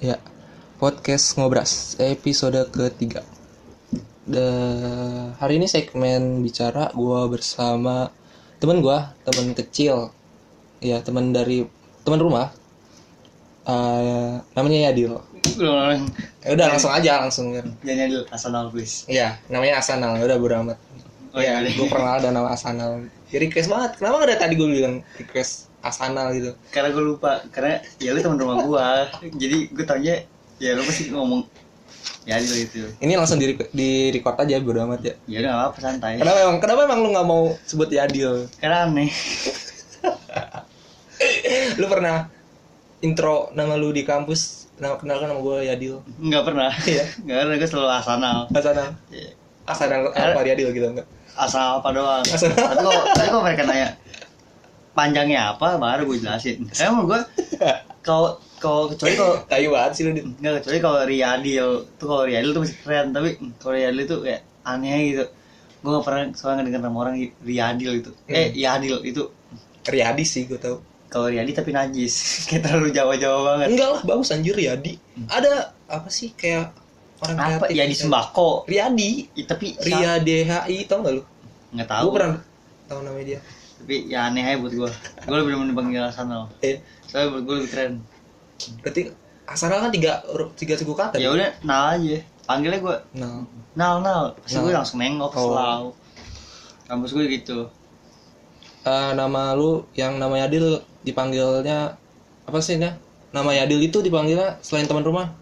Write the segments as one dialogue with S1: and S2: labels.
S1: Ya, podcast ngobras episode ketiga. Da- hari ini segmen bicara gua bersama teman gua, teman kecil, ya teman dari teman rumah. Eh, namanya Yadil.
S2: Jangan
S1: Ya udah langsung aja langsung ya.
S2: jangan dulu personal please.
S1: Iya, namanya Asanal. Ya udah bodo amat.
S2: Oh,
S1: Iya,
S2: iya.
S1: gua pernah ada nama Asanal. Ya request banget. Kenapa dari tadi gua bilang request Asanal gitu?
S2: Karena gue lupa, karena ya lu teman rumah gua. Jadi gue taunya ya lu pasti ngomong ya gitu gitu.
S1: Ini langsung di di record aja bodo amat ya.
S2: Ya udah nggak apa santai.
S1: Kenapa emang kenapa emang lu nggak mau sebut Yadil?
S2: Karena aneh.
S1: lu pernah intro nama lu di kampus nama kenalkan nama gue Yadil
S2: Enggak pernah.
S1: Iya.
S2: Enggak pernah gue selalu asanal.
S1: Asana
S2: Iya.
S1: Asana apa Yadil gitu enggak
S2: Asanal apa doang.
S1: Asanal.
S2: Tapi kok tapi kok mereka nanya panjangnya apa baru gue jelasin. Karena menurut gue kalau kalau kecuali kalau
S1: tai banget sih lu Dit.
S2: Enggak, kecuali kalau Riyadil tuh kalau Riyadil tuh masih keren, tapi kalau Riyadil tuh kayak aneh gitu. Gue gak pernah soalnya ngedenger nama orang Riyadil itu.
S1: Iya.
S2: Eh, Yadil itu
S1: Riyadi sih gue tau
S2: kalau Riyadi tapi najis. kayak terlalu Jawa-Jawa banget.
S1: enggak lah bagus anjir Riyadi ada apa sih kayak orang
S2: Hmm. Apa
S1: kreatif
S2: Yadi
S1: gitu.
S2: sembako?
S1: Riyadi
S2: Ih, tapi
S1: Ria DHI tau gak lu
S2: Enggak tahu.
S1: gue pernah tau namanya dia
S2: Tapi ya aneh aja buat gue. Gue lebih demen panggil Hasanal.
S1: eh
S2: Soalnya buat gue lebih keren.
S1: berarti Asana kan tiga huruf- tiga suku kata
S2: Ya
S1: Dit.
S2: udah, nal aja. Panggilnya gue
S1: nah
S2: nal nal. Pasti gue
S1: Nal.
S2: langsung nengok
S1: Oh.
S2: selalu. Kampus gue gitu.
S1: eh, nama lu yang nama Yadil dipanggilnya apa sih ya nama Yadil itu dipanggilnya selain teman rumah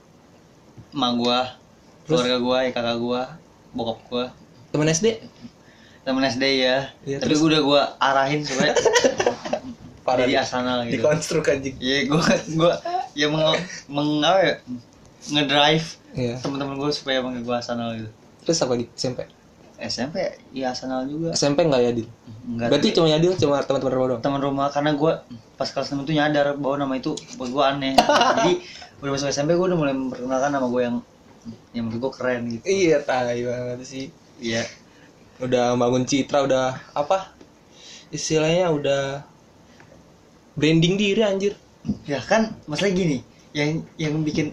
S2: Emak gue, keluarga gue, ya kakak gue, bokap gue.
S1: teman SD
S2: temen SD ya,
S1: Iya,
S2: tapi gue udah gue arahin sebenarnya
S1: Parah
S2: jadi
S1: di-
S2: Arsenal gitu
S1: dikonstruk anjing
S2: ya gue gue ya meng, meng apa ya, ngedrive
S1: iya
S2: temen-temen gue supaya panggil gue Arsenal gitu
S1: terus apa lagi SMP
S2: SMP ya Arsenal juga
S1: SMP nggak Yadil
S2: enggak
S1: berarti cuma Yadil cuma teman-teman rumah doang
S2: teman rumah karena gue pas kelas 6 tuh nyadar bahwa nama itu buat gue aneh jadi udah masuk SMP gue udah mulai memperkenalkan nama gue yang yang menurut gue keren gitu
S1: iya tai banget sih
S2: iya
S1: udah bangun citra udah apa istilahnya udah branding diri anjir
S2: ya kan masalah gini yang yang bikin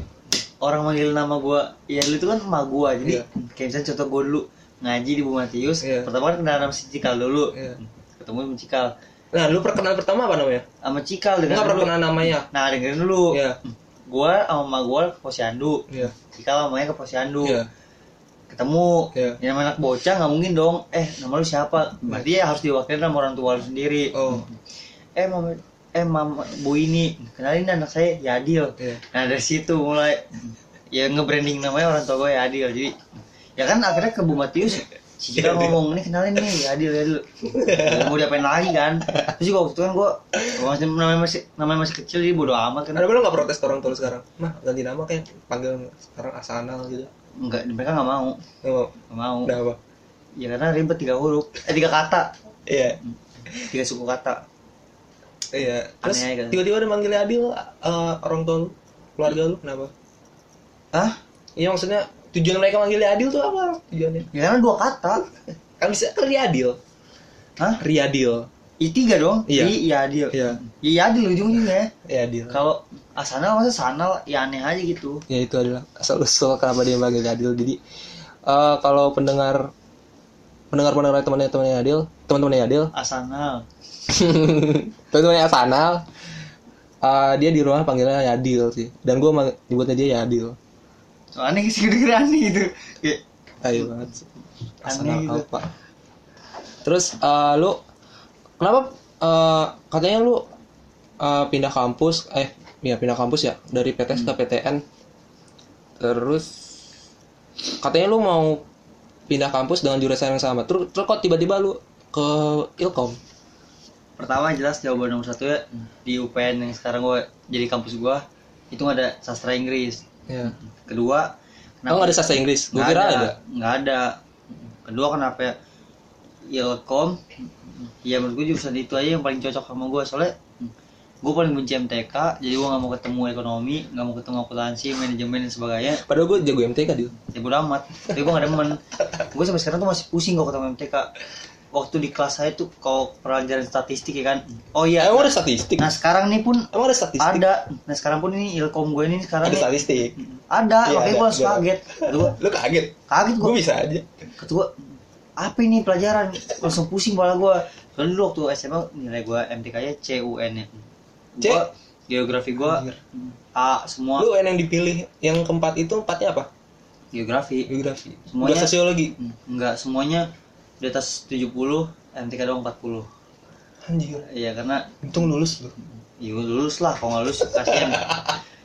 S2: orang manggil nama gua ya lu itu kan emak gua jadi
S1: Iya.
S2: kayak misalnya contoh gua dulu ngaji di Bumatius
S1: Iya.
S2: pertama kan kenal sama si Cikal dulu
S1: Iya.
S2: ketemu sama Cikal
S1: nah lu perkenal pertama apa namanya
S2: sama Cikal dengan
S1: nggak perlu kenal namanya
S2: nah dengerin dulu
S1: Iya.
S2: gua sama emak gua ke Posyandu
S1: iya
S2: Cikal namanya ke Posyandu
S1: iya
S2: ketemu
S1: Iya.
S2: yang namanya anak bocah nggak mungkin dong eh nama lu siapa berarti ya harus diwakilin sama orang tua lu sendiri
S1: oh
S2: eh mama eh mama bu ini kenalin anak saya Yadil
S1: Iya.
S2: nah dari situ mulai ya nge-branding namanya orang tua gue Yadil jadi ya kan akhirnya ke Bu Matius si Cika
S1: Yadil.
S2: ngomong ini kenalin nih Yadil Yadil Ya, mau diapain lagi kan terus juga waktu itu kan gue masih namanya masih namanya masih kecil jadi bodo amat kan
S1: Ada bener nggak protes ke orang tua lu sekarang? Mah ganti nama kayak panggil sekarang Asanal gitu.
S2: nggak mereka nggak mau
S1: Nggak mau.
S2: nggak mau
S1: Udah apa?
S2: ya karena ribet tiga huruf eh tiga kata
S1: Iya.
S2: tiga suku kata
S1: Iya. Terus
S2: Aneh aja kan.
S1: tiba-tiba ada manggilnya Adil eh, orang tua lu, keluarga lu kenapa?
S2: ah
S1: Iya maksudnya tujuan mereka manggilnya Adil tuh apa? Tujuannya?
S2: ya karena dua kata
S1: Kan bisa ke Riadil.
S2: Hah?
S1: Riadil.
S2: I tiga dong,
S1: Iya.
S2: I Yadil.
S1: Iya.
S2: I Yadil ujung-ujungnya.
S1: Riadil.
S2: kalau asana masa sanal ya aneh aja gitu
S1: ya itu adalah asal usul kenapa dia panggil Adil jadi eh, kalau pendengar pendengar pendengar temannya temannya Adil teman-temannya Adil
S2: asanal
S1: teman-temannya Asanal eh, dia di rumah panggilnya Yadil sih dan gue nyebutnya dia Yadil
S2: so, aneh sih gue denger aneh gitu kayak
S1: tai banget sih. Asanal
S2: Aneh gitu.
S1: apa terus eh, lu kenapa eh, katanya lu eh, pindah kampus eh ya pindah kampus ya dari PTS ke
S2: Hmm.
S1: PTN terus katanya lu mau pindah kampus dengan jurusan yang sama terus terus kok tiba-tiba lu ke Ilkom
S2: pertama jelas jawaban nomor satu ya di UPN yang sekarang gue jadi kampus gue itu nggak ada sastra Inggris
S1: ya
S2: kedua
S1: oh nggak ada sastra Inggris gue kira ada
S2: Iya. nggak ada kedua kenapa ya ilkom ya menurut gue jurusan itu aja yang paling cocok sama gue soalnya gue paling benci MTK jadi gue nggak mau ketemu ekonomi nggak mau ketemu akuntansi manajemen dan sebagainya
S1: Padahal gue jago MTK dia.
S2: ya bodo amat tapi gue gak demen gue sampai sekarang tuh masih pusing kok ketemu MTK waktu di kelas saya tuh kalau pelajaran statistik ya kan oh iya
S1: Emang ada Eh, statistik?
S2: nah sekarang nih pun
S1: Emang ada statistik?
S2: ada nah sekarang pun ini ilkom gue ini sekarang
S1: Ada
S2: nih,
S1: statistik.
S2: ada
S1: Iya,
S2: makanya
S1: ada,
S2: gue langsung
S1: ada.
S2: kaget gue
S1: Lu kaget?
S2: kaget gue
S1: Gue bisa aja.
S2: kata gue apa ini pelajaran langsung pusing kepala gue soalnya dulu waktu SMA nilai gue MTK nya CUN ya
S1: C?
S2: gue geografi gue A semua
S1: Lu UN yang dipilih yang keempat itu empatnya apa?
S2: geografi
S1: Geografi.
S2: Semuanya-
S1: Enggak sosiologi.
S2: Hmm, enggak semuanya di atas 70 MTK doang 40
S1: Anjir.
S2: iya karena
S1: Untung lulus lu.
S2: ya lulus lah kalau nggak lulus kasihan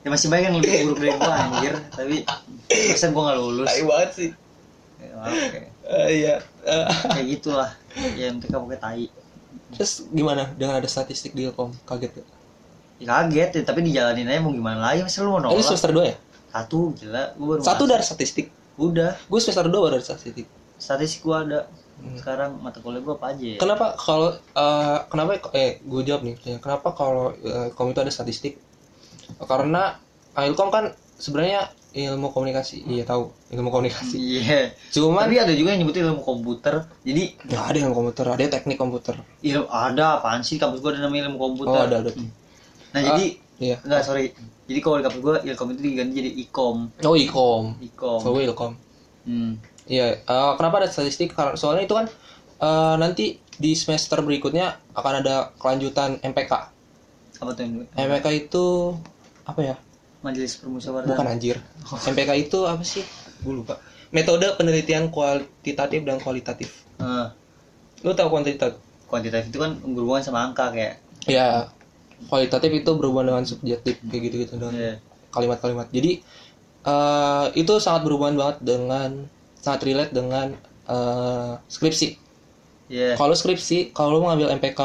S2: ya masih banyak yang lebih buruk dari gua anjir tapi pesan gua nggak lulus
S1: Tai banget sih.
S2: ya, maaf, kayak,
S1: Eh, Iya. Eh,
S2: kayak gitulah ya MTK pakai tai
S1: Terus gimana dengan ada statistik di Ilkom? Kaget gak?
S2: ya, kaget ya, tapi dijalanin aja mau gimana lagi masa lu mau
S1: Ini
S2: nolak
S1: semester 2 ya?
S2: satu gila gua baru
S1: Satu
S2: masuk.
S1: dari statistik.
S2: udah
S1: Gue semester 2 baru ada statistik.
S2: statistik gua ada sekarang mata kuliah gua apa aja ya?
S1: Kenapa Hmm. kalau eh, kenapa eh gue jawab nih pertanyaan. Kenapa kalau eh, Ilkom itu ada statistik? Karena eh, Ilkom kan sebenarnya ilmu komunikasi. Iya tahu, ilmu komunikasi.
S2: iya
S1: Cuman
S2: tapi ada juga yang nyebutin ilmu komputer jadi
S1: nggak ada ilmu komputer, ada teknik komputer.
S2: ilmu ada apaan sih kampus gua ada namanya ilmu komputer
S1: Oh, ada ada.
S2: nah
S1: Ah.
S2: jadi
S1: Iya.
S2: enggak sorry jadi kalau di kampus gua ilkom itu diganti jadi ikom
S1: Oh, Ilkom.
S2: ikom
S1: So, Ilkom.
S2: hmm.
S1: Iya, eh, kenapa ada statistik? Karena soalnya itu kan eh, nanti di semester berikutnya akan ada kelanjutan MPK.
S2: apa tuh yang dulu?
S1: MPK itu apa ya?
S2: majelis permusyawaratan
S1: Bukan anjir. MPK itu apa sih? Gue lupa. Metode penelitian kualitatif dan kualitatif.
S2: Eh,
S1: Lu tahu kuantitatif?
S2: kuantitatif itu kan berhubungan sama angka kayak
S1: Ya, kualitatif itu berhubungan dengan subjektif kayak gitu-gitu dengan
S2: Iya.
S1: kalimat-kalimat. Jadi eh, itu sangat berhubungan banget dengan sangat relate dengan eh, skripsi. Eh,
S2: Iya.
S1: Kalau skripsi, kalau lu mengambil MPK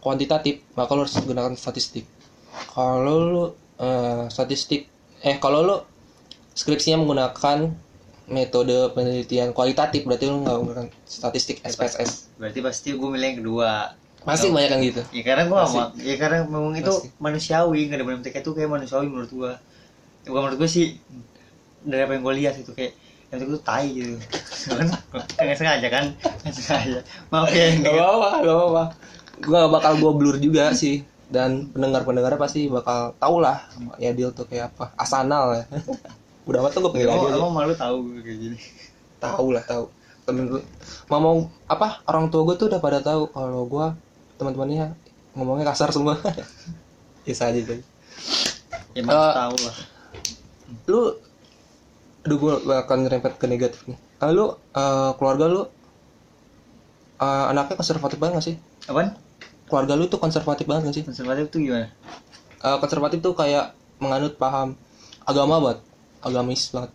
S1: kuantitatif, maka lu harus gunakan statistik. Kalau lu eh, statistik, eh kalau lu skripsinya menggunakan metode penelitian kualitatif, berarti lu nggak menggunakan statistik SPSS.
S2: berarti pasti gue milih yang kedua
S1: Masih banyak yang gitu.
S2: ya karena gue
S1: Pasti.
S2: mau ya karena memang itu
S1: Pasti.
S2: manusiawi nggak ada benar MTK itu kayak manusiawi menurut gue ya, bukan menurut gue sih dari apa yang gue lihat itu kayak MTK itu tai gitu kan nggak sengaja kan nggak sengaja maaf ya
S1: Gak apa-apa, gak apa-apa. Gua bakal gua blur juga sih. Dan pendengar-pendengar pasti bakal tau lah ya deal tuh kayak apa. Asanal ya. Udah amat tuh gue panggil
S2: Emang,
S1: aja.
S2: emang malu tahu kayak gini
S1: tahu lah tahu temen gue ngomong apa orang tua gue tuh udah pada tahu kalau gue teman-temannya ngomongnya kasar semua ya saja tuh
S2: ya malu
S1: Eh,
S2: tahu lah
S1: lu aduh gue bakal nyerempet ke negatif nih Ah, lu eh, keluarga lu eh, anaknya konservatif banget gak sih
S2: apaan
S1: keluarga lu tuh konservatif banget gak sih
S2: konservatif tuh gimana
S1: Eh, konservatif tuh kayak menganut paham agama banget agamis banget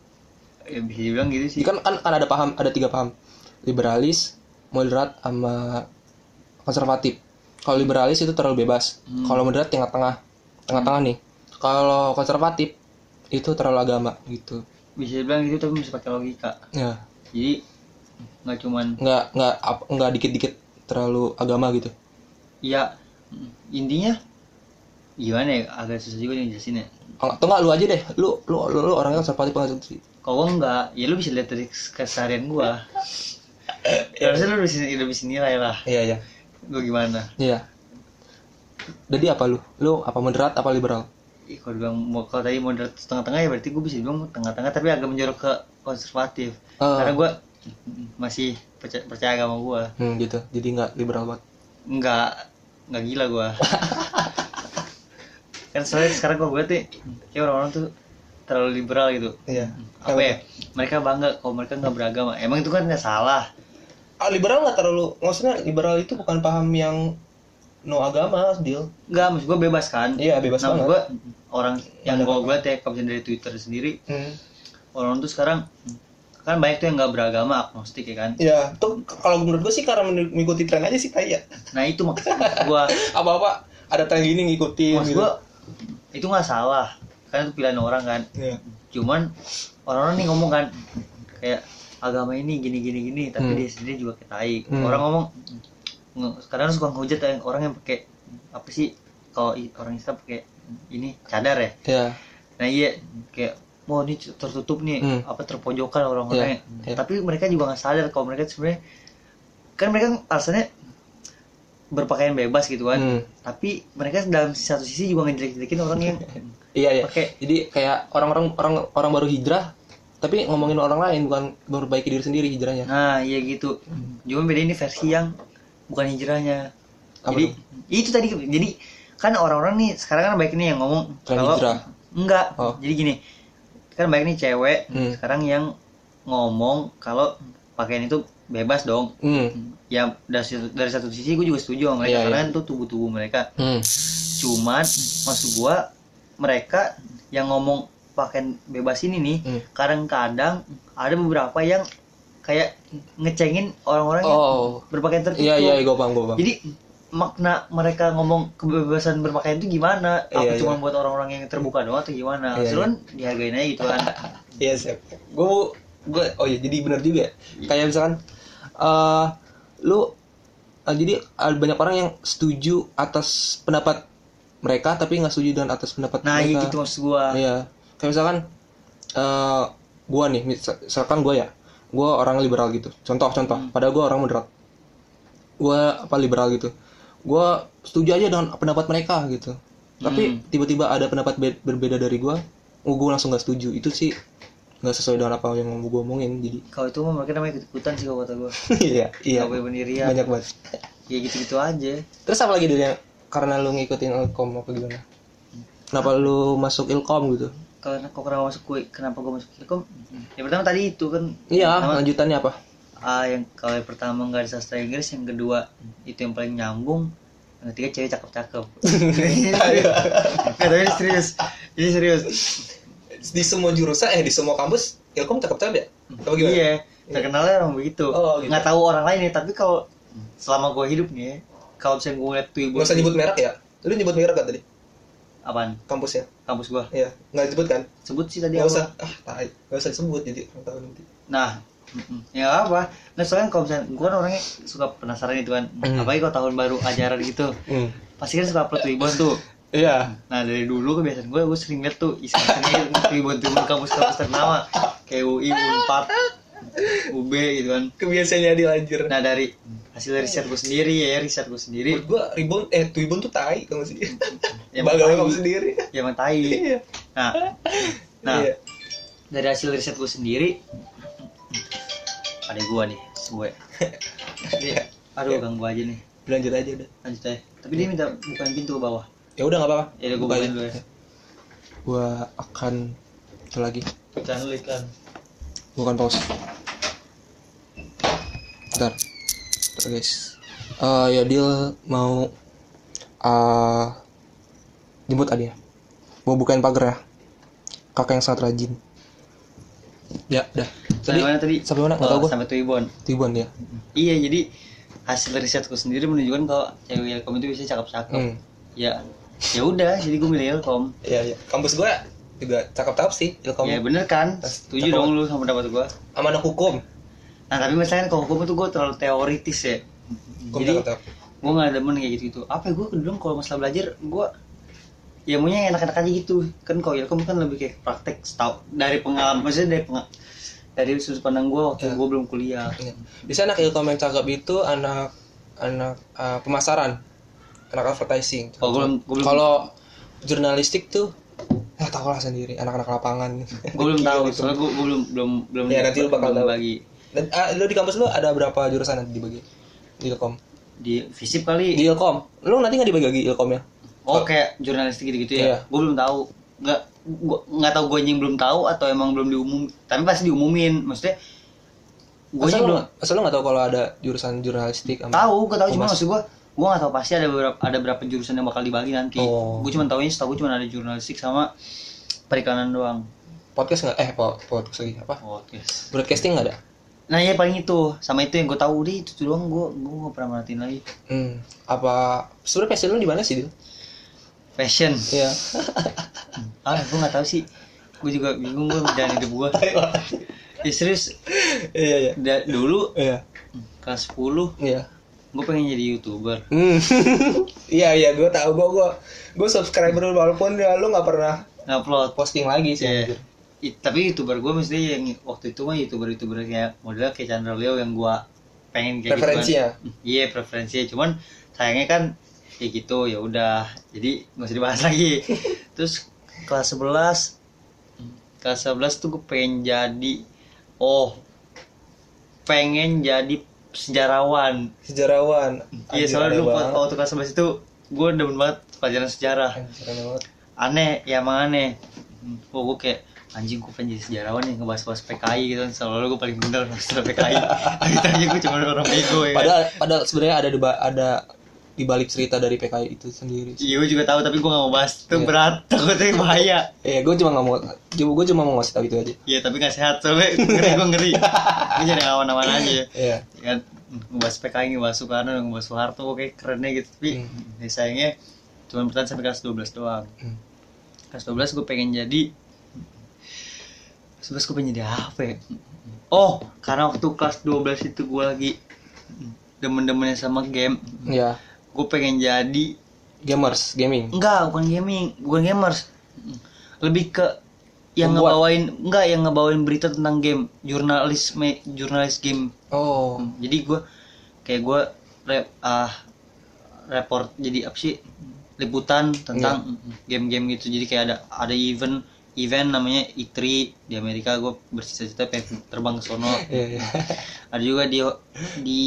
S2: ya bisa dibilang gitu sih
S1: Jadi kan, kan kan ada paham ada tiga paham liberalis moderat sama konservatif kalau liberalis itu terlalu bebas kalau moderat tengah-tengah tengah-tengah nih kalau konservatif itu terlalu agama gitu
S2: bisa dibilang gitu tapi bisa pakai logika
S1: ya
S2: jadi nggak cuman
S1: nggak nggak ap- nggak dikit-dikit terlalu agama gitu
S2: ya mm, intinya gimana ya agak susah juga nih jelasinnya
S1: atau nggak lu aja deh lu lu lu, lu orangnya konservatif banget sih
S2: kalau enggak ya lu bisa lihat dari keseharian gua ya, harusnya lu bisa udah bisa nilai lah
S1: iya iya
S2: gua gimana
S1: iya jadi apa lu lu apa moderat apa liberal
S2: Ih, kalau bilang mau kalau tadi moderat tengah-tengah ya berarti gua bisa bilang tengah-tengah tapi agak menjorok ke konservatif
S1: Eh.
S2: karena gua mm, masih percaya, percaya agama gua
S1: hmm, gitu jadi nggak liberal banget
S2: enggak enggak gila gua kan soalnya sekarang gua gue tuh kayak orang-orang tuh terlalu liberal gitu
S1: iya
S2: apa ya mereka bangga kalau mereka nggak beragama emang itu kan nggak salah
S1: ah, liberal nggak terlalu maksudnya liberal itu bukan paham yang no agama deal
S2: nggak maksud gue bebas kan
S1: Iya, bebas
S2: nah,
S1: banget.
S2: gue orang yang gue gue ya kalau misalnya dari twitter sendiri
S1: Hmm.
S2: orang tuh sekarang kan banyak tuh yang nggak beragama agnostik ya kan
S1: ya tuh kalau menurut gue sih karena men- mengikuti tren aja sih kayak
S2: nah itu maksud gue
S1: apa apa ada tren gini ngikutin
S2: maksud
S1: gitu
S2: gue itu nggak salah karena itu pilihan orang kan
S1: Iya.
S2: cuman orang-orang nih ngomong kan kayak agama ini gini gini gini tapi
S1: Hmm.
S2: dia sendiri juga ketai
S1: Hmm.
S2: ya, orang ngomong nge- kadang suka ngehujat yang orang yang pakai apa sih kalau i- orang Islam kayak ini cadar ya
S1: ya
S2: nah iya kayak mau ini tertutup nih
S1: Hmm.
S2: apa terpojokan orang-orangnya
S1: Iya, iya.
S2: tapi mereka juga nggak sadar kalau mereka sebenarnya kan mereka alasannya berpakaian bebas gitu kan
S1: Hmm.
S2: tapi mereka dalam satu sisi juga ngejelek-jelekin orang yang
S1: iya iya
S2: Pakai-
S1: jadi kayak orang-orang orang orang baru hijrah tapi ngomongin orang lain bukan memperbaiki diri sendiri hijrahnya
S2: nah iya gitu
S1: Hmm.
S2: cuma beda ini versi yang bukan hijrahnya
S1: Apa
S2: jadi itu tadi jadi kan orang-orang nih sekarang kan baik nih yang ngomong
S1: Tren
S2: kalau-
S1: hijrah.
S2: enggak
S1: Oh.
S2: jadi gini kan baik nih cewek
S1: Hmm.
S2: sekarang yang ngomong kalau pakaian itu bebas dong
S1: hmm
S2: ya dari situ- dari satu sisi gue juga setuju sama mereka
S1: Iya,
S2: karena kan itu tubuh tubuh mereka
S1: hmm
S2: cuman maksud gue mereka yang ngomong pakaian bebas ini nih
S1: Hmm.
S2: kadang-kadang ada beberapa yang kayak ngecengin orang-orang yang
S1: oh
S2: berpakaian tertutup
S1: iya iya gue paham gue paham
S2: jadi makna mereka ngomong kebebasan berpakaian itu gimana
S1: Iya,
S2: apa cuma
S1: iya.
S2: buat orang-orang yang terbuka doang atau gimana
S1: Iya,
S2: Maksud lu kan dihargain aja gitu kan
S1: Iya sih. Gue gue oh ya jadi benar juga. Kayak misalkan eh lu eh, jadi ada banyak orang yang setuju atas pendapat mereka tapi nggak setuju dengan atas pendapat
S2: nah iya
S1: mereka.
S2: gitu maksud gua
S1: Iya. Kayak misalkan eh gua nih mis- misalkan gua ya. Gua orang liberal gitu. Contoh-contoh. Padahal gua orang moderat. Gua apa liberal gitu. Gua setuju aja dengan pendapat mereka gitu. Tapi tiba-tiba ada pendapat be- berbeda dari gua, oh, gua langsung gak setuju. Itu sih nggak sesuai dengan apa yang mau gua omongin. Jadi
S2: kalau itu mah mereka namanya ikut-ikutan sih kalau kata gua
S1: iya, iya.
S2: Gak boleh pendirian
S1: Banyak banget.
S2: ya gitu-gitu aja
S1: Terus apa lagi dari yang karena lu ngikutin ilkom apa gimana? Kenapa lu masuk ilkom gitu?
S2: kalau kok kenapa masuk kue kenapa gua masuk Telkom ya pertama tadi itu kan
S1: Iya,
S2: Pertama,
S1: lanjutannya apa?
S2: ah, yang kalau yang pertama nggak ada sastra Inggris yang kedua itu yang paling nyambung yang ketiga cewek cakep-cakep Nggak, tapi ini serius ini serius
S1: di semua jurusan eh di semua kampus ilkom tetap tetap ya apa gimana
S2: iya terkenalnya orang begitu
S1: Oh, gitu.
S2: nggak tahu orang lain ya tapi kalau selama gua hidup nih ya, kalau misalnya gua ngeliat tuh ibu
S1: nggak usah nyebut merek ya lu nyebut merek kan tadi
S2: apaan
S1: kampusnya
S2: kampus gua
S1: iya nggak disebut kan
S2: sebut sih tadi
S1: nggak
S2: apa?
S1: usah ah tai nggak usah disebut jadi orang tahu nanti
S2: Nah, mm-mm. ya nggak apa? Nah soalnya kalau misalnya gue kan orangnya suka penasaran itu kan,
S1: Hmm.
S2: apalagi kalau tahun baru ajaran gitu, pasti kan suka upload Twibbon tuh.
S1: iya
S2: Nah dari dulu kebiasaan gue, gue sering liat tuh isinya Twibbon Twibbon kampus-kampus ternama, kayak UI, Unpad, UB gitu kan.
S1: kebiasaannya dia lanjut
S2: Nah dari hasil riset gue sendiri ya, riset gue
S1: Menurut
S2: sendiri,
S1: gua ribon eh tuibon tuh tai tau gak sih
S2: Ya,
S1: bangga
S2: tai.
S1: kamu sendiri
S2: ya emang tai.
S1: iya
S2: Nah, nah
S1: Iya.
S2: dari hasil riset gue sendiri, ada gue nih, sebuah. Jadi, Aduh, ganggu aja nih.
S1: lanjut aja udah
S2: lanjut aja tapi dia minta bukan pintu ke bawah
S1: ya udah nggak apa-apa
S2: ya udah gue
S1: Buka
S2: bukain
S1: aja.
S2: dulu ya
S1: gua akan itu lagi
S2: iklan dulu iklan
S1: bukan pause ntar Ntar, guys Eh, ya deal mau eh jemput Adi ya mau bukain pagar ya kakak yang sangat rajin ya udah
S2: sampai
S1: tadi
S2: mana Nah, tadi
S1: sampai mana nggak tahu
S2: Oh,
S1: gue
S2: sampai Tuibon
S1: tibuan ya
S2: iya jadi hasil risetku sendiri menunjukkan kalau cewek Ilkom itu bisa cakep-cakep
S1: hmm.
S2: ya ya udah jadi gue milih Ilkom
S1: iya iya kampus gue juga cakep-cakep sih ilkom
S2: ya bener kan setuju
S1: Cakep.
S2: dong lu sama pendapat gue
S1: sama anak hukum
S2: nah tapi misalnya kalau hukum itu gue terlalu teoritis ya
S1: hukum
S2: jadi
S1: cakep-cakep
S2: gue nggak demen kayak gitu gitu apa gue kebetulan kalau masalah belajar gue ya maunya yang enak-enak aja gitu kan kalau ilkom kan lebih kayak praktek setau dari pengalaman maksudnya dari pengal- dari sudut pandang gue waktu
S1: Ya.
S2: gue belum kuliah
S1: Iya. Biasanya anak ilkom yang cakep itu anak anak eh, pemasaran, anak advertising.
S2: Oh, gua belum- gua belum-
S1: Kalau jurnalistik tuh ya tau lah sendiri anak-anak lapangan.
S2: gue belum tahu soalnya gue belum belum belum
S1: Iya, gitu. Ya, nanti lu bakal
S2: belum
S1: tahu.
S2: bagi
S1: Dan ah, lu di kampus lu ada berapa jurusan nanti dibagi? Di ilkom.
S2: di visip kali
S1: Di ilkom. Lu nanti nggak dibagi ya? ilkomnya?
S2: oh kayak jurnalistik gitu gitu
S1: Iya.
S2: ya gue belum tahu nggak gua nggak tahu gue yang belum tahu atau emang belum diumum tapi pasti diumumin maksudnya gue
S1: Asal lu,
S2: belum
S1: asal lu nggak Oh, tahu kalau ada jurusan jurnalistik? sama-
S2: tahu gue tahu cuma
S1: Humas.
S2: maksud gue gue nggak tahu pasti ada berapa ada berapa jurusan yang bakal dibagi nanti
S1: Oh.
S2: gue cuma tahunya setahu gue cuma ada jurnalistik sama periklanan doang
S1: Podcast nggak? Eh po- podcast lagi apa?
S2: podcast
S1: Broadcasting nggak ada?
S2: nah ya paling itu sama itu yang gue tahu deh itu doang gue gue nggak pernah merhatiin lagi
S1: Hmm. Apa? Sebenarnya passion lu di mana sih, Dil?
S2: fashion
S1: Iya.
S2: ah gue nggak tahu sih gue juga bingung gue dan hidup gue ya serius
S1: Iya, iya.
S2: da- dulu
S1: Iya.
S2: kelas 10
S1: Iya.
S2: gue pengen jadi youtuber
S1: Hmm. Iya iya, gue tahu gue gue gue subscriber lu, walaupun ya, lu nggak pernah
S2: ngupload
S1: posting lagi sih.
S2: Iya. I- tapi youtuber gue mesti yang waktu itu mah youtuber youtuber kayak model kayak Chandra Leo yang gue pengen kayak
S1: Preferensinya.
S2: gitu kan. iya preferensinya cuman sayangnya kan kayak gitu ya udah jadi nggak usah dibahas lagi terus kelas 11 kelas 11 tuh gue pengen jadi oh pengen jadi sejarawan
S1: Sejarawan.
S2: iya
S1: Anjir,
S2: soalnya
S1: aneh
S2: dulu
S1: banget.
S2: waktu kelas 11 itu gue demen banget pelajaran sejarah
S1: Anjir, aneh banget.
S2: aneh ya emang aneh oh, gue kayak anjing gue pengen jadi sejarawan yang ngebahas-bahas PKI gitu kan selalu gue paling bener masalah PKI kita aja gue cuma orang bego ya kan
S1: Padahal padahal sebenarnya ada di ba- ada di balik cerita dari PKI itu sendiri.
S2: iya gue juga tahu tapi gue gak mau bahas itu
S1: Iya.
S2: berat takutnya bahaya
S1: Iya, gue cuma nggak mau, gue cuma mau ngasih tau gitu aja.
S2: iya tapi gak sehat soalnya ngeri gue ngeri gue jadi awan-awan aja ya
S1: Iya.
S2: Ya kan ngebahas PKI ngebahas Soekarno ngebahas Soeharto oke kerennya gitu tapi
S1: Hmm.
S2: ya sayangnya cuma bertahan sampai kelas 12 doang
S1: Hmm.
S2: kelas 12 gue pengen jadi kelas 12 gue pengen jadi apa ya oh karena waktu kelas 12 itu gue lagi demen-demennya sama game
S1: Iya.
S2: gue pengen jadi
S1: Gamers, gaming.
S2: enggak bukan gaming bukan gamers lebih ke yang
S1: Pembuat.
S2: ngebawain enggak yang ngebawain berita tentang game jurnalis me- jurnalis game
S1: Oh.
S2: Hmm, jadi gue kayak gue rep ah report jadi apa sih liputan tentang game-game gitu jadi kayak ada ada event event namanya E3 di Amerika gue bercita-cita pengen terbang ke sono
S1: Iya. iya.
S2: ada juga di di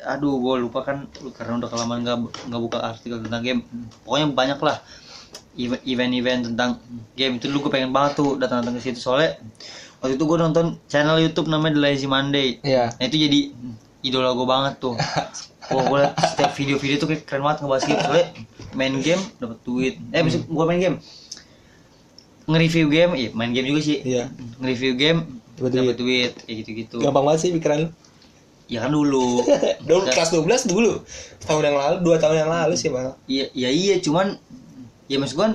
S2: aduh gue lupa kan karena udah kelamaan nggak nggak buka artikel tentang game pokoknya banyak lah event- event-event tentang game itu dulu gue pengen banget tuh datang-datang ke situ soalnya waktu itu gue nonton channel YouTube namanya The Lazy Monday
S1: Iya.
S2: Nah itu jadi idola gue banget tuh. Wah gue liat setiap video-video tuh kayak keren banget ngebahas game. Soalnya main game dapat duit. Eh maksud
S1: Hmm.
S2: gue main game. Nge-review game, iya main game juga sih.
S1: Iya.
S2: Nge-review game
S1: Dapet
S2: dapat duit kayak gitu-gitu.
S1: Gampang banget sih pikiran lu.
S2: Ya kan dulu.
S1: Dulu kelas 12 dulu. Tahun yang lalu, dua tahun yang lalu sih malah.
S2: Iya ya iya cuman ya maksud gue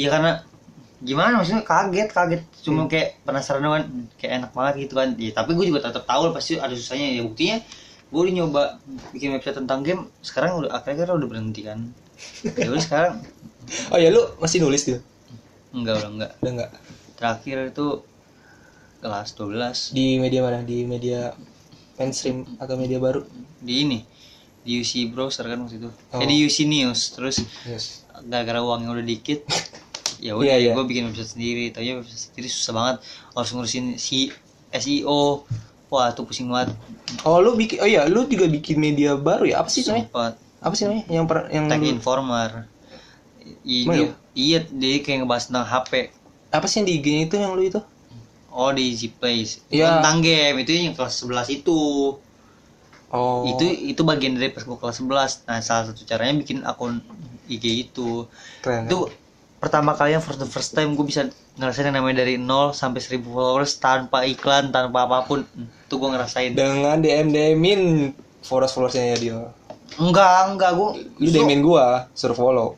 S2: ya karena gimana maksudnya kaget kaget cuma kayak penasaran doang kayak enak banget gitu kan ya, tapi gue juga tetap tahu lah, pasti ada susahnya ya buktinya gue udah nyoba bikin website tentang game sekarang udah akhirnya kan udah berhenti kan ya udah sekarang
S1: Oh ya lu masih nulis gitu.
S2: enggak udah enggak
S1: Udah enggak?
S2: terakhir itu kelas 12
S1: Di media mana? Di media mainstream atau media baru?
S2: di ini di UC browser kan waktu itu
S1: Oh.
S2: eh, di UC news terus
S1: Yes.
S2: gara-gara uangnya udah dikit ya udah
S1: Iya, iya.
S2: gue bikin website sendiri tanya website sendiri susah banget harus ngurusin si SEO wah tuh pusing banget
S1: Oh lu bikin oh iya lu juga bikin media baru ya apa sih namanya?
S2: sempat
S1: Apa sih namanya? Yang per, yang
S2: tag
S1: dulu-
S2: informer I-
S1: Emang
S2: dia- iya dia kayak ngebahas tentang HP
S1: apa sih yang di IG-nya itu yang lu itu?
S2: oh di Easy Place Itu
S1: Iya.
S2: tentang game itu yang kelas 11 itu
S1: Oh.
S2: itu itu bagian dari pas gua kelas 11 nah salah satu caranya bikin akun IG itu
S1: keren.
S2: itu pertama kali yang first the first time gue bisa ngerasain yang namanya dari 0 sampai 1000 followers tanpa iklan tanpa apapun itu gue ngerasain
S1: dengan DM DMin followers followersnya ya dia.
S2: enggak enggak gue
S1: Lu DMin gua suruh follow.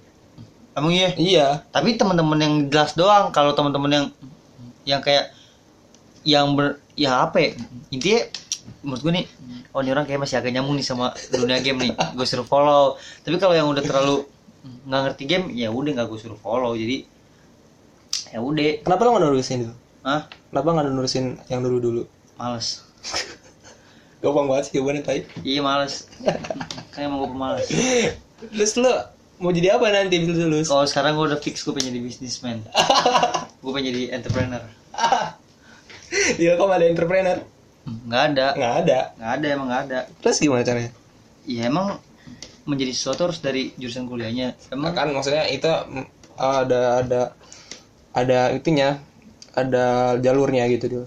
S2: emang iya
S1: Iya.
S2: tapi teman-teman yang jelas doang kalau teman-teman yang yang kayak yang ber ya apa ya intinya menurut gue nih oh ini orang kayak masih agak nyambung nih sama dunia game nih gue suruh follow tapi kalau yang udah terlalu nggak ngerti game ya udah nggak gue suruh follow jadi ya udah
S1: Kenapa lu nggak nulisin itu?
S2: ah
S1: Kenapa nggak nulisin yang dulu dulu?
S2: males
S1: Gampang banget sih jawabannya tai.
S2: Iya males Kan emang gue pemalas
S1: Iya. Terus lu mau jadi apa nanti abis lu lulus?
S2: Kalau sekarang gue udah fix gue pengen jadi businessman Gue pengen jadi entrepreneur
S1: Di Ilkom Iya, ada entrepreneur?
S2: Nggak ada
S1: Nggak ada.
S2: Nggak ada emang nggak ada
S1: Terus gimana caranya?
S2: Ya emang menjadi sesuatu harus dari jurusan kuliahnya
S1: Nah,
S2: Emang
S1: kan maksudnya itu mm, ada ada ada itunya, ada jalurnya gitu dulu.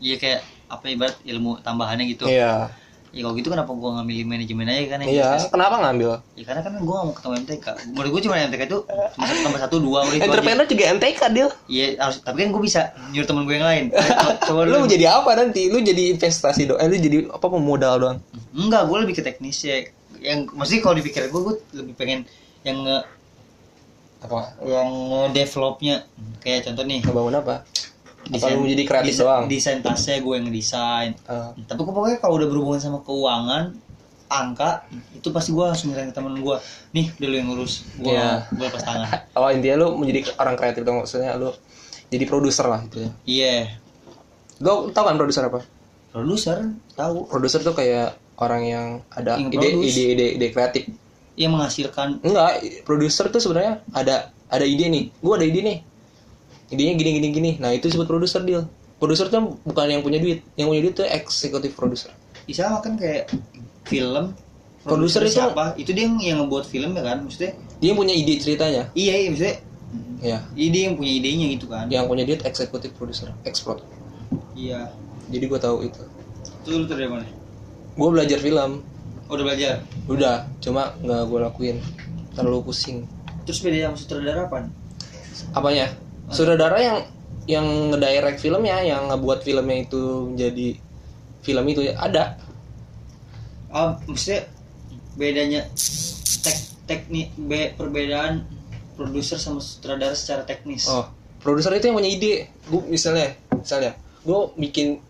S2: Iya kayak apa ibarat ilmu tambahannya gitu
S1: Iya.
S2: Ya kalau gitu kenapa gue ngambil manajemen aja kan yang
S1: Iya,
S2: bisnis?
S1: kenapa ngambil?
S2: Ya karena kan gue gak mau ketemu MTK Menurut gue cuma MTK itu cuma satu tambah satu dua udah itu aja
S1: Entrepreneur juga MTK, Dil.
S2: Iya harus tapi kan gue bisa nyuruh temen gue yang lain Coba- Coba
S1: Lu mau jadi apa nanti? Lu jadi investasi doang. Eh, lu jadi apa pemodal doang.
S2: Enggak, gue lebih ke teknis ya. Yang maksudnya kalau dipikir gue, gue lebih pengen yang nge
S1: Apa?
S2: yang developnya kayak contoh nih
S1: Ngebangun apa? Apa lu mau jadi kreatif
S2: desain-
S1: doang?
S2: desain tasnya gue yang ngedesain
S1: Eh,
S2: tapi gue pokoknya kalau udah berhubungan sama keuangan angka itu pasti gue langsung nyerahin ke temen gue nih udah lu yang ngurus gue
S1: Iya.
S2: gue lepas tangan
S1: oh intinya lu menjadi orang kreatif dong maksudnya lu jadi produser lah gitu ya
S2: iya
S1: lo tau kan produser apa
S2: produser tahu
S1: produser tuh kayak orang yang ada
S2: Yang
S1: ide,
S2: produce.
S1: ide ide ide kreatif
S2: yang menghasilkan
S1: enggak produser tuh sebenarnya ada ada ide nih gua ada ide nih idenya gini gini gini nah itu disebut produser deal produser tuh bukan yang punya duit yang punya duit tuh eksekutif produser
S2: ya sama kan kayak film
S1: Produser itu-
S2: siapa itu dia yang, yang ngebuat film ya kan maksudnya
S1: dia yang punya ide ceritanya
S2: iya iya maksudnya
S1: ya
S2: iya dia yang punya idenya gitu kan
S1: yang punya duit eksekutif produser expert
S2: iya
S1: jadi gua tahu itu
S2: itu lu tuh dari mana
S1: gua belajar film
S2: Oh, udah belajar
S1: udah cuma nggak gua lakuin terlalu pusing
S2: terus beda sama sutradara apa
S1: apanya saudara yang yang ngedirect filmnya yang ngebuat filmnya itu menjadi film itu ya ada
S2: ah maksudnya bedanya tek teknik be, perbedaan produser sama sutradara secara teknis
S1: oh produser itu yang punya ide gue misalnya misalnya gue bikin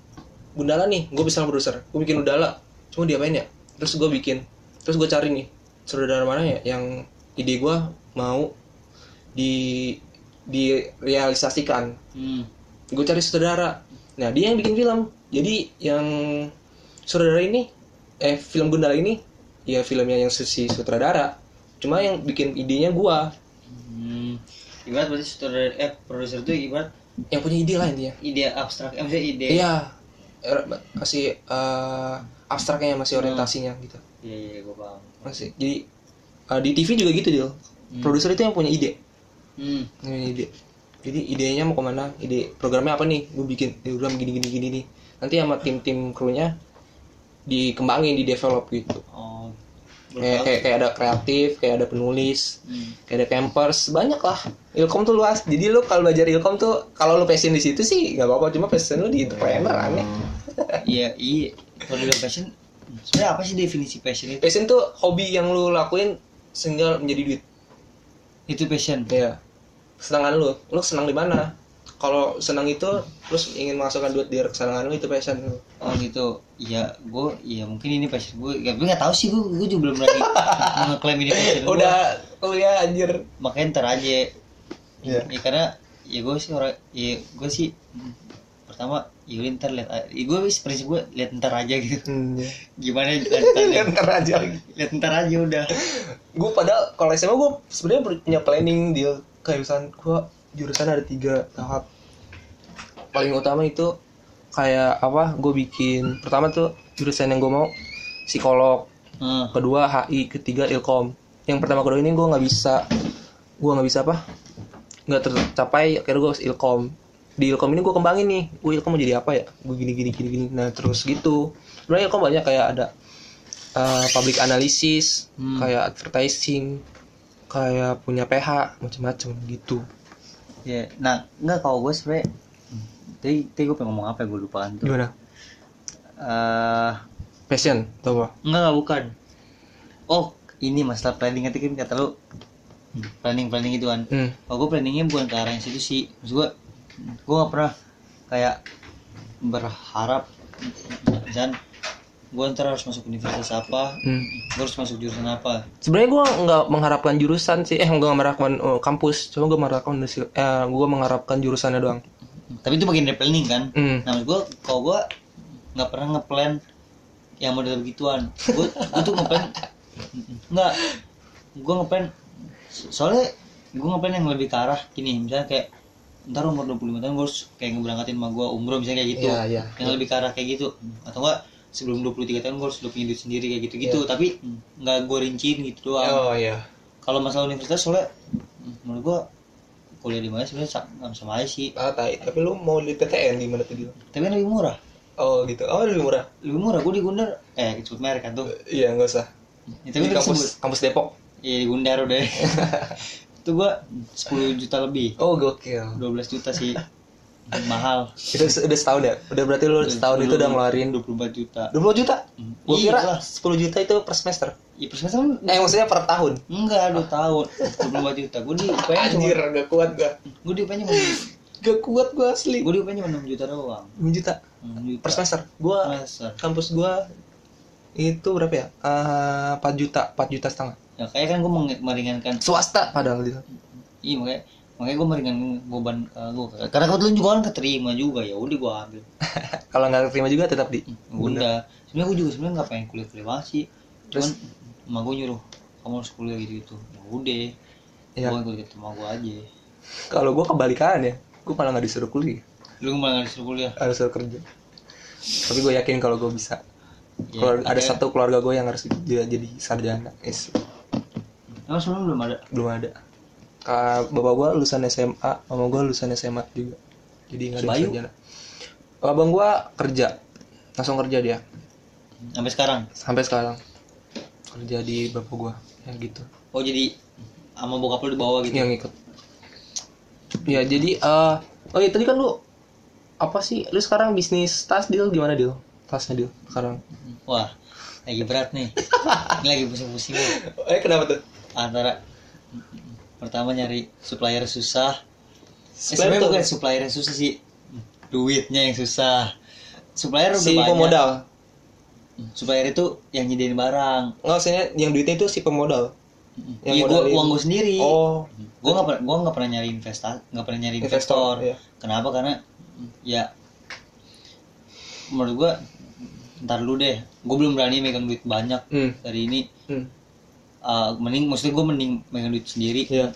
S1: gundala nih gue misalnya produser gue bikin gundala cuma diapain ya terus gue bikin terus gue cari nih saudara mana ya yang ide gue mau di direalisasikan
S2: Hmm.
S1: gue cari saudara nah dia yang bikin film jadi yang saudara ini eh film Gundala ini ya filmnya yang si sutradara cuma yang bikin idenya gua
S2: hmm. ibarat berarti sutradara eh produser itu ibarat
S1: yang punya ide lah intinya
S2: ide abstrak eh, maksudnya ide
S1: iya er, masih eh, abstraknya masih orientasinya gitu
S2: iya iya gue paham
S1: masih jadi eh, di TV juga gitu dia produser itu yang punya ide
S2: hmm.
S1: Yang punya ide jadi idenya mau kemana ide programnya apa nih gue bikin program gini gini gini nih nanti sama tim tim krunya dikembangin di develop gitu
S2: oh
S1: kayak, kayak kayak ada kreatif kayak ada penulis
S2: Hmm.
S1: kayak ada campers banyak lah ilkom tuh luas jadi lu kalau belajar ilkom tuh kalau lu passion di situ sih nggak apa-apa cuma passion lu di entrepreneur aneh
S2: iya iya kalau dibilang passion sebenarnya apa sih definisi passion itu
S1: passion tuh hobi yang lu lakuin sehingga menjadi duit
S2: itu passion
S1: ya kesenangan lu lu senang di mana kalau senang itu terus ingin menghasilkan duit dari kesenangan lu itu passion lu
S2: oh gitu iya gue ya mungkin ini passion gue ya, gue nggak tahu sih gue gue juga belum lagi ngeklaim ini passion
S1: Iya.
S2: gua.
S1: udah kuliah anjir
S2: makanya ntar aja
S1: Iya.
S2: ya karena ya gue sih orang ya gue sih mm, pertama ya udah ntar lihat ya gue sih prinsip gue lihat ntar aja gitu
S1: hmm, ya.
S2: gimana lanjutannya
S1: Iya, ntar aja
S2: lihat ntar aja udah
S1: gue padahal kalau SMA gue sebenarnya punya planning dia kayak misalnya gue jurusan ada tiga tahap paling utama itu kayak apa gue bikin pertama tuh jurusan yang gue mau psikolog
S2: Heeh.
S1: kedua HI ketiga ilkom yang pertama kedua ini gue nggak bisa gue nggak bisa apa nggak tercapai akhirnya gue harus ilkom di ilkom ini gue kembangin nih gue ilkom mau jadi apa ya gue gini gini gini gini nah terus gitu sebenarnya ilkom banyak kayak ada eh, public analysis
S2: Hmm.
S1: kayak advertising kayak punya PH macam-macam gitu
S2: ya nah nggak kalau gue sebenernya Hmm, tadi tadi gue pengen ngomong apa ya gue lupaan tuh
S1: gimana
S2: eh
S1: passion atau apa
S2: enggak enggak bukan oh ini masalah planning nanti kan kata lu planning planning itu kan
S1: hmm.
S2: kalau gue planningnya bukan ke arah yang situ sih maksud gue gue gak pernah kayak berharap dan gue ntar harus masuk universitas apa
S1: hmm.
S2: gue harus masuk jurusan apa
S1: sebenarnya gue nggak mengharapkan jurusan sih eh gue nggak mengharapkan oh, kampus cuma gue mengharapkan eh, gue mengharapkan jurusannya doang
S2: tapi itu bagian dari planning kan
S1: Hmm.
S2: nah gue kalau gue nggak pernah ngeplan yang model begituan gue gue tuh ngeplan nggak gue ngeplan so- soalnya gue ngeplan yang lebih ke arah gini misalnya kayak ntar umur 25 tahun gue harus kayak ngeberangkatin sama gue umroh misalnya kayak gitu
S1: Iya, iya.
S2: yang lebih ke arah kayak gitu atau enggak sebelum 23 tahun gue harus udah punya duit sendiri kayak gitu-gitu
S1: Iya.
S2: tapi nggak gue rinciin gitu doang
S1: iya.
S2: kalau masalah universitas soalnya menurut gue kuliah di mana sebenarnya sama, sama aja sih
S1: Ah, tai. Tapi lu mau di PTN di mana tuh dia?
S2: tapi kan lebih murah
S1: Oh gitu. Oh lebih murah.
S2: lebih murah gue di Gundar eh sebut merek kan tuh
S1: Iya nggak usah.
S2: ya, tapi
S1: Di
S2: udah disebut
S1: kampus kampus Depok.
S2: iya di Gundar udah itu gue 10 juta lebih
S1: Oh gokil.
S2: 12 juta sih mahal
S1: Itu se- udah setahun ya. Udah berarti lu setahun itu udah ngeluarin
S2: 24 juta
S1: 20 juta. Gua
S2: Iya
S1: kira
S2: lah.
S1: 10 juta itu per semester.
S2: ya persentasenya
S1: Eh maksudnya per tahun.
S2: enggak 2 tahun 24 juta gue di UPN cuma
S1: gak kuat gua.
S2: gue di UPN cuma
S1: Gak kuat gua asli.
S2: gue di UPN cuma 6 juta doang
S1: 6 juta
S2: 6 juta
S1: per semester. Gua
S2: semester
S1: kampus gua itu berapa ya? Eh, 4 juta, 4 juta setengah.
S2: ya kayak kan gue meringankan
S1: Swasta padahal gitu. dia.
S2: iya makanya makanya gue meringankan beban ke lu karena kebetulan juga kan keterima juga ya udah gue ambil
S1: Eh, Kalau nggak terima juga tetap di Bunda.
S2: Bunda. Sebenarnya gue juga sebenarnya nggak pengen kuliah kuliah banget sih. Cuman
S1: Terus?
S2: emak gue nyuruh kamu harus kuliah gitu gitu. Ya udah.
S1: Iya.
S2: Gue ikut sama gue aja.
S1: Kalau gua kebalikan ya, gua malah nggak disuruh kuliah,
S2: Lu malah nggak disuruh kuliah.
S1: harus suruh kerja. Tapi gue yakin kalau gue bisa.
S2: Ya,
S1: Keluar- ada
S2: makanya-
S1: satu keluarga gue yang harus dia jadi sarjana. Is,
S2: Emang sebelum belum ada.
S1: belum ada. Ka- bapak gue lulusan SMA, mama gue lulusan SMA juga. Jadi nggak ada yang
S2: Sebayu?
S1: sarjana. Abang gue kerja, langsung kerja dia.
S2: Sampai sekarang.
S1: Sampai sekarang kerja di bapak gue, ya gitu.
S2: Oh jadi sama bokap lu dibawa gitu.
S1: yang ikut ya jadi eh oh iya tadi kan lu apa sih lu sekarang bisnis tas deal gimana deal tasnya deal sekarang
S2: Wah lagi berat nih. Ini lagi pusing-pusing. gua.
S1: eh kenapa tuh
S2: Antara pertama nyari supplier susah. Eh, sebenarnya bukan supplier yang susah sih. Duitnya yang susah. Supplier udah
S1: si
S2: banyak.
S1: pemodal
S2: Supplier itu yang nyediain barang.
S1: nggak maksudnya yang duitnya itu si pemodal Yang
S2: Iya gua
S1: modalin.
S2: uang gue sendiri.
S1: oh
S2: Gue nggak pernah gua nggak pernah nyari investasi, nggak pernah nyari investor.
S1: investor ya.
S2: Kenapa? Karena mm, ya menurut gua ntar lu deh. Gue belum berani megang duit banyak
S1: hmm.
S2: dari ini.
S1: hmm.
S2: eh, mending maksudnya gue mending megang duit sendiri
S1: Iya.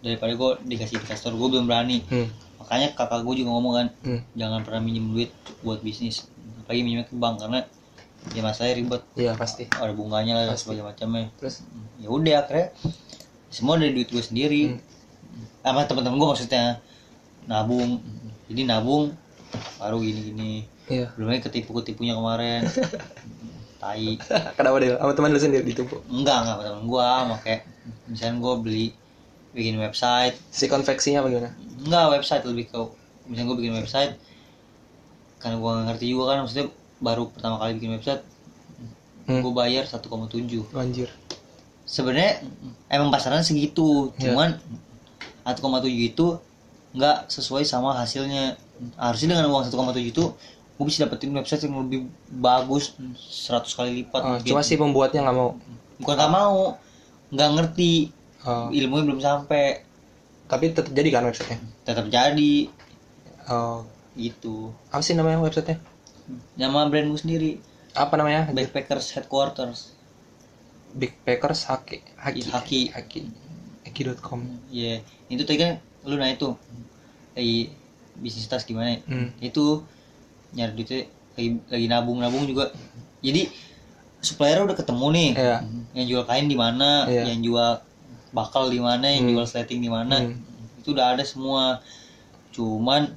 S2: daripada gue dikasih investor. Gue belum berani.
S1: Hmm.
S2: Makanya kakak gue juga ngomong kan
S1: Hmm.
S2: jangan pernah minjem duit buat bisnis. Apalagi minjem ke bank karena ya masalahnya ribet
S1: Iya pasti.
S2: ada bunganya lah dan
S1: Pasti.
S2: sebagainya macamnya.
S1: Terus
S2: ya udah akhirnya semua dari duit gue sendiri sama teman-teman gue maksudnya nabung jadi nabung baru gini-gini
S1: iya.
S2: belum lagi ketipu-ketipunya kemarin tai
S1: Kenapa deal? Sama teman lu sendiri gitu, ditipu.
S2: enggak enggak sama temen gue sama kayak misalnya gue beli bikin website
S1: Si konveksinya apa gimana?
S2: enggak website lebih ke misalnya gue bikin website karena gue nggak ngerti juga kan maksudnya baru pertama kali bikin website
S1: Hmm.
S2: gue bayar 1,7
S1: Anjir.
S2: sebenarnya emang pasaran segitu
S1: Iya.
S2: cuman 1,7 itu nggak sesuai sama hasilnya harusnya dengan uang 1,7 itu gue bisa dapetin website yang lebih bagus 100 kali lipat
S1: Ah,
S2: mungkin.
S1: cuma si pembuatnya nggak mau.
S2: bukan nggak mau nggak ngerti
S1: Ah,
S2: ilmunya belum sampai
S1: tapi tetap jadi kan websitenya.
S2: tetap jadi
S1: Oh,
S2: gitu
S1: apa sih namanya websitenya?
S2: nama brand gue sendiri
S1: Apa namanya?
S2: Backpackers Headquarters
S1: Backpackers Haki Haki
S2: Iya, Haki.
S1: Haki Haki.com
S2: ya itu tadi kan lu nanya tuh kayak bisnis tas gimana ya?
S1: hmm.
S2: itu nyari duitnya lagi, lagi nabung nabung juga jadi supplier udah ketemu nih
S1: Iya.
S2: yang jual kain di mana
S1: Iya.
S2: yang jual bakal di mana yang
S1: Hmm.
S2: jual slating di mana
S1: Hmm.
S2: itu udah ada semua cuman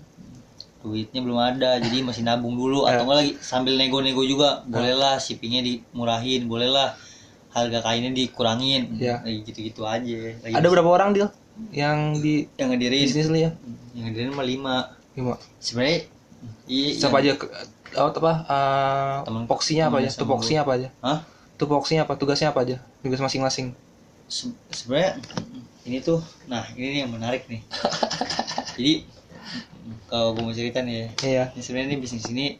S2: duitnya belum ada jadi masih nabung dulu
S1: Iya.
S2: atau enggak lagi sambil nego-nego juga bolehlah shippingnya dimurahin bolehlah harga kainnya dikurangin
S1: Iya.
S2: lagi gitu-gitu aja lagi
S1: Ada berapa orang deal yang di
S2: yang ngedirin
S1: bisnis lu ya?
S2: yang ngedirin mah lima
S1: Lima.
S2: sebenarnya iya
S1: Siapa
S2: yang-
S1: aja? ke- Oh, apa? eh
S2: Temen-
S1: Poksinya apa aja?
S2: temen sama
S1: Tupoksinya apa aja?
S2: Hah?
S1: Tupoksinya apa? Tugasnya apa aja? Tugas masing-masing.
S2: Se- sebenarnya ini tuh nah ini nih yang menarik nih jadi kalau gue mau cerita nih ya
S1: Iya.
S2: ini sebenarnya nih bisnis ini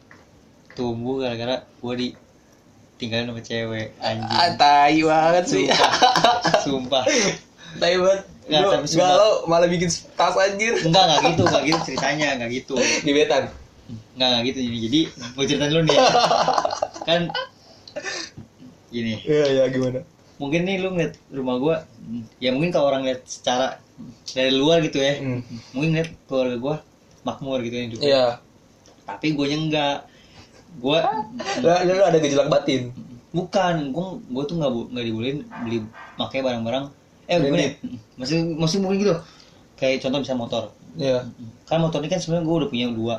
S2: tumbuh gara-gara gue ditinggalin sama cewek
S1: Ah,
S2: anjing
S1: tai banget sih.
S2: sumpah sumpah
S1: tai banget.
S2: Nggak,
S1: Lu
S2: tapi sumpah.
S1: galau malah bikin tas anjir
S2: enggak enggak gitu enggak gitu ceritanya enggak gitu
S1: di betan.
S2: enggak enggak gitu jadi jadi gue cerita dulu nih ya. kan gini
S1: Iya, iya gimana?
S2: mungkin nih lu ngeliat rumah gua ya mungkin kalau orang lihat secara dari luar gitu ya
S1: Hmm.
S2: mungkin ngeliat keluarga gua makmur gitu ya hidupnya.
S1: Iya.
S2: tapi gue enggak gue
S1: Lu, lu ada gejolak batin.
S2: bukan gue gue tuh nggak bu- nggak dibolehin beli pakai barang-barang eh
S1: Branded.
S2: gimana ya? maksud maksud mungkin gitu kayak contoh misalnya motor
S1: Iya.
S2: kan motor ini kan sebenarnya gue udah punya dua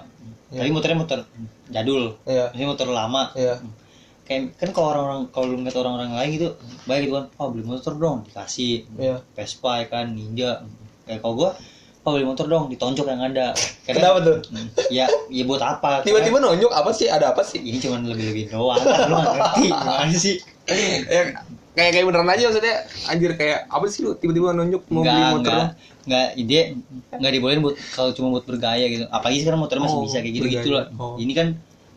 S1: Iya.
S2: tapi motornya motor jadul
S1: Iya.
S2: maksudnya motor lama
S1: Iya.
S2: kayak kan kalau orang-orang kalau lu ngeliat orang-orang lain gitu baik gitu kan oh beli motor dong dikasih
S1: Iya.
S2: Vespa ya kan Ninja kayak kalau gue oh beli motor dong ditonjok yang ada
S1: Kenapa tuh?
S2: ya ya buat apa Karena-
S1: Tiba-tiba nonjok apa sih? Ada apa sih?
S2: ini cuman lebih-lebih doang kan? lu gak ngerti gimana sih
S1: ya, kayak kayak beneran aja maksudnya anjir kayak apa sih lu tiba-tiba nunjuk mau
S2: nggak
S1: beli motor
S2: nggak nggak ide nggak dibolehin buat kalau cuma buat bergaya gitu apalagi sekarang motor masih
S1: Oh,
S2: bisa kayak gitu gitu
S1: bergaya.
S2: loh
S1: Oh.
S2: ini kan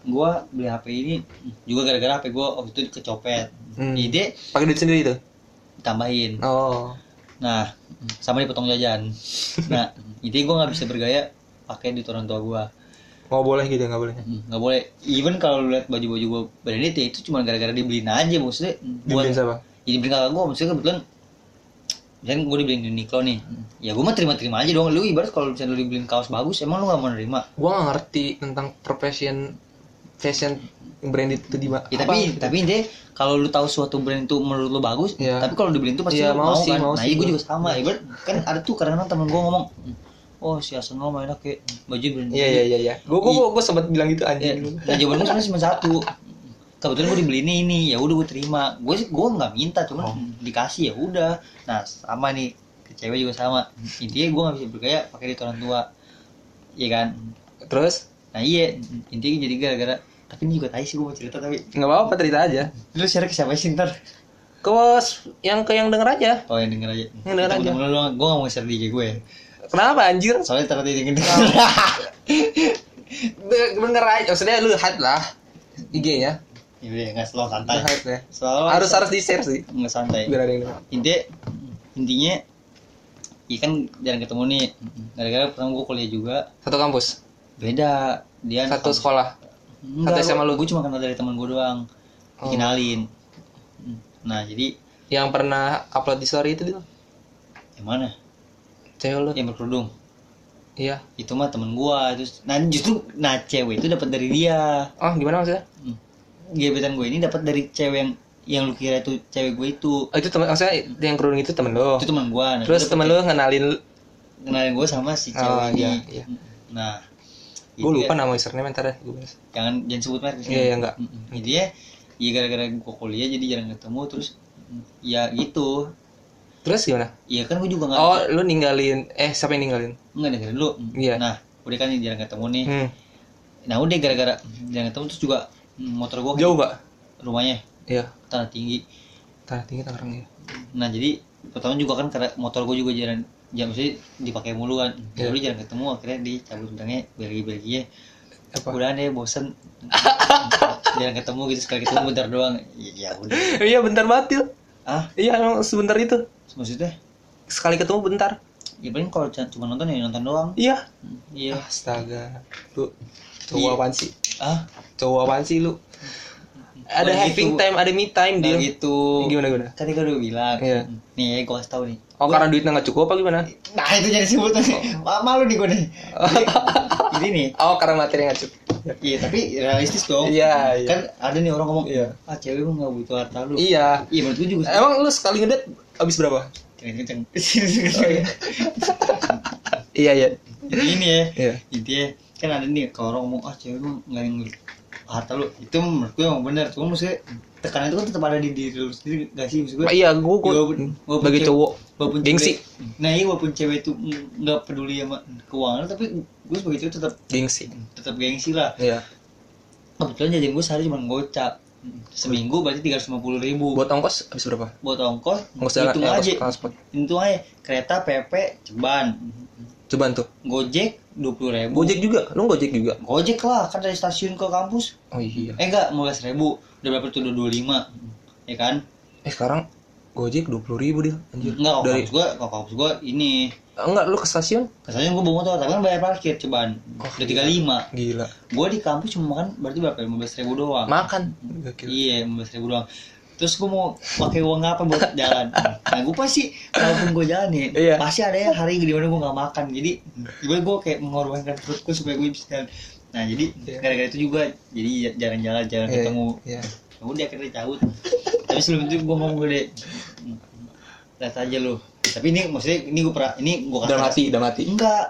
S2: gue beli HP ini juga gara-gara HP gue waktu itu kecopet
S1: Hmm.
S2: ide
S1: Pakai duit sendiri tuh.
S2: tambahin
S1: Oh.
S2: nah sama dipotong jajan nah ide gue nggak bisa bergaya pakai di orang tua gue
S1: Mau boleh gitu nggak boleh?
S2: Hmm, nggak boleh even kalau lu lihat baju-baju gue berani itu cuma gara-gara dibeliin aja maksudnya
S1: Dibeliin siapa?
S2: ya dibeliin kakak gue maksudnya kebetulan misalnya gue dibeliin Uniqlo nih ya gue mah terima-terima aja dong lu ibarat kalau misalnya lu dibeliin kaos bagus emang lu gak mau nerima
S1: Gua nggak ngerti tentang profession fashion branded itu di ma-
S2: ya,
S1: apa
S2: tapi
S1: gitu.
S2: tapi deh kalau lu tahu suatu brand itu menurut lu bagus
S1: Iya.
S2: tapi kalau dibeliin tuh pasti
S1: Iya,
S2: lu
S1: mau
S2: mau,
S1: sih,
S2: kan
S1: mau
S2: nah
S1: sih
S2: gue
S1: gua.
S2: juga sama ibarat kan ada tuh kadang-kadang temen gue ngomong oh si Hasan lo enak ya baju brand
S1: Iya iya iya iya. Gua gua gua, gua sempat bilang gitu
S2: Ya,
S1: anjing.
S2: nah jawaban gue sebenarnya cuma satu. Kebetulan gue dibeli ini ini, ya udah gue terima. Gue sih- gue nggak minta,
S1: Oh.
S2: cuman dikasih ya udah. Nah sama nih, ke cewek juga sama. Intinya gue nggak bisa bergaya pakai duit orang tua, ya kan?
S1: Terus
S2: Nah iya, intinya jadi gara-gara. Tapi ini juga tadi sih gue mau cerita tapi
S1: nggak apa-apa cerita aja.
S2: lu share ke siapa sih ntar?
S1: Ke yang ke yang denger aja.
S2: Oh yang denger aja.
S1: Yang denger aja.
S2: Temen-temen lu, gue nggak mau share di IG gue.
S1: Kenapa anjir?
S2: Soalnya ternyata dia denger.
S1: De- Denger aja. Maksudnya lu hide lah IG-nya.
S2: Ya udah nggak slow
S1: Lu
S2: santai.
S1: hide ya.
S2: Soalnya
S1: Harus harus di-share sih
S2: nggak santai.
S1: biar ada yang denger.
S2: intinya intinya ya kan jarang ketemu nih gara-gara pertama gue kuliah juga
S1: Satu kampus,
S2: beda dia
S1: satu sekolah.
S2: enggak,
S1: satu SMA lu?
S2: gue cuma kenal dari teman gue doang
S1: Oh.
S2: dikenalin nah jadi
S1: Yang pernah upload di story itu dia.
S2: yang mana
S1: Cewek lu.
S2: yang berkerudung
S1: Iya.
S2: itu mah temen gue terus nah justru nah cewek itu dapat dari dia
S1: Oh, gimana maksudnya?
S2: gebetan gue ini dapat dari cewek yang yang lu kira itu cewek gue itu
S1: Oh, itu teman maksudnya yang kerudung itu temen lo.
S2: itu teman gue nah,
S1: Terus
S2: dia
S1: temen
S2: dapet-
S1: lu ngenalin
S2: kenalin gue sama si cewek
S1: Oh,
S2: ini
S1: iya, iya.
S2: nah
S1: gue
S2: itu ya.
S1: lupa nama username ntar deh gue bahas.
S2: jangan Kan jangan sebut merek di sini.
S1: Iya, iya, enggak.
S2: Mm-mm. Jadi ya, ya gara-gara gue kuliah jadi jarang ketemu terus mm, ya gitu.
S1: Terus gimana?
S2: Ya kan gue juga nggak
S1: Oh, lu ninggalin eh siapa yang ninggalin?
S2: nggak dengerin dulu.
S1: Iya.
S2: Nah, udah kan yang jarang ketemu nih.
S1: Hmm.
S2: Nah, udah gara-gara jarang ketemu terus juga mm, motor gue
S1: Jauh, Pak.
S2: rumahnya
S1: Iya.
S2: tanah tinggi.
S1: Tanah tinggi Tangerang ya.
S2: Nah, jadi pertama juga kan karena motor gue juga jarang jam sih dipakai mulu kan.
S1: Iya.
S2: Jadi jarang ketemu akhirnya dicabut undangnya bagi-bagi ya.
S1: Apa?
S2: Udah deh bosen jarang ketemu gitu sekali ketemu bentar doang. Ya, ya udah.
S1: iya, bentar banget, Til.
S2: Ah,
S1: Iya, emang sebentar itu.
S2: maksudnya
S1: Sekali ketemu bentar.
S2: ya paling kalau c- cuma nonton ya nonton doang
S1: Iya.
S2: iya
S1: Astaga. Lu
S2: Iya.
S1: cowok apaan sih?
S2: ah
S1: Cowok apaan sih lu? Ada
S2: Nggak
S1: having
S2: gitu.
S1: time, ada me time,
S2: nggak
S1: Dil.
S2: gitu
S1: Gimana gimana?
S2: kan gue udah bilang
S1: Iya.
S2: nih gue kasih tau nih
S1: Oh, karena duitnya nggak cukup apa gimana?
S2: nah itu jadi sebut Ma- malu nih gue nih Jadi- ini nih
S1: Oh, karena materinya nggak cukup.
S2: iya tapi realistis dong
S1: Iya, iya.
S2: kan ada nih orang ngomong
S1: Iya.
S2: ah cewek lu nggak butuh harta lu
S1: Iya.
S2: iya menurut gue juga sih.
S1: Emang lu sekali ngedate habis berapa?
S2: kenceng
S1: Oh,
S2: kenceng
S1: iya. iya, iya.
S2: ini ya
S1: Iya.
S2: intinya kan ada nih kalau orang ngomong ah cewek lu nggak yang harta lu itu menurut gue emang bener cuma maksudnya tekanan itu kan tetap ada di diri lu sendiri gak sih maksud gue
S1: Pak, iya, gue gua,
S2: Walaupun- walaupun
S1: bagi
S2: cewek-
S1: cowok
S2: walaupun
S1: Gengsi.
S2: cewek- nah iya walaupun cewek itu nggak peduli sama keuangan tapi gue sebagai cewek tetap
S1: gengsi.
S2: tetap gengsi lah
S1: Iya.
S2: kebetulan jajan gue sehari cuma gocap seminggu berarti tiga ratus lima puluh ribu buat,
S1: Buat ongkos habis berapa?
S2: ongkos
S1: Ongkos jalan,
S2: hitung
S1: eh, ongkos
S2: aja
S1: transport.
S2: hitung aja kereta pp ceban
S1: Coba tuh.
S2: gojek dua puluh ribu
S1: Gojek juga, lu gojek juga.
S2: Gojek lah kan dari stasiun ke kampus
S1: Oh iya.
S2: eh enggak mau ribu udah berapa tuh dua lima ya kan
S1: Eh sekarang Gojek dua puluh ribu dia. Anjir.
S2: enggak kalau
S1: Hmm. Dari Eh,
S2: kampus gue kalau kampus gue ini
S1: enggak lu ke stasiun?
S2: kesannya gue bawa motor tapi kan bayar parkir ceban udah
S1: iya?
S2: tiga lima
S1: Gila.
S2: gue di kampus cuma makan berarti berapa lima belas ribu doang
S1: Makan. Gokil.
S2: iya lima belas ribu doang terus gue mau pakai uang apa buat jalan nah gue pasti kalaupun gue jalan ya
S1: Iya.
S2: pasti ada ya hari di mana gue nggak makan jadi gue gue kayak mengorbankan perut gue supaya gue bisa jalan nah jadi
S1: Iya.
S2: gara-gara itu juga jadi ja- jarang jalan jarang
S1: Iya,
S2: ketemu
S1: Iya.
S2: ya udah akhirnya cabut tapi sebelum itu gue ngomong gue deh lihat aja lo tapi ini maksudnya ini gue pernah ini gue
S1: Udah mati, udah mati.
S2: enggak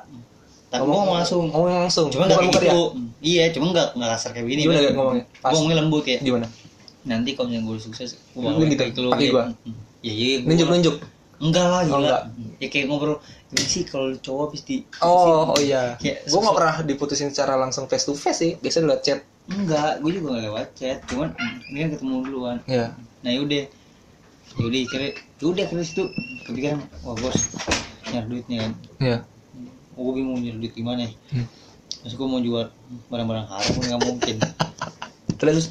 S2: tapi gue ngomong langsung
S1: Ngomong langsung.
S2: cuma
S1: Bukan
S2: nggak
S1: muka
S2: kayak
S1: dia.
S2: gitu iya cuma nggak nggak kasar kayak begini
S1: Gimana
S2: Bang.
S1: gak ngomongnya? Pas.
S2: Gua ngomongnya lembut ya
S1: Eh, Gimana?
S2: nanti kalau misalnya gue sukses gue
S1: Lu gitu, pakai gua.
S2: ya iya gua-
S1: Nunjuk-nunjuk.
S2: enggak lah
S1: Oh,
S2: gila
S1: enggak.
S2: ya kayak ngobrol gimana sih kalau cowok pasti
S1: Oh, oh iya.
S2: Kayak
S1: Gue
S2: susah.
S1: nggak pernah diputusin secara langsung face to face sih. Biasanya lewat chat.
S2: enggak gue juga nggak lewat chat cuman mm, ini kan ketemu duluan
S1: Iya.
S2: nah Ya yaudah yaudah akhirnya yaudah akhirnya situ kepikiran wah gue harus nyari duit nih kan
S1: Iya.
S2: gue bingung nyari duit gimana ya
S1: Hmm.
S2: terus gue mau jual barang-barang haram nggak mungkin
S1: terus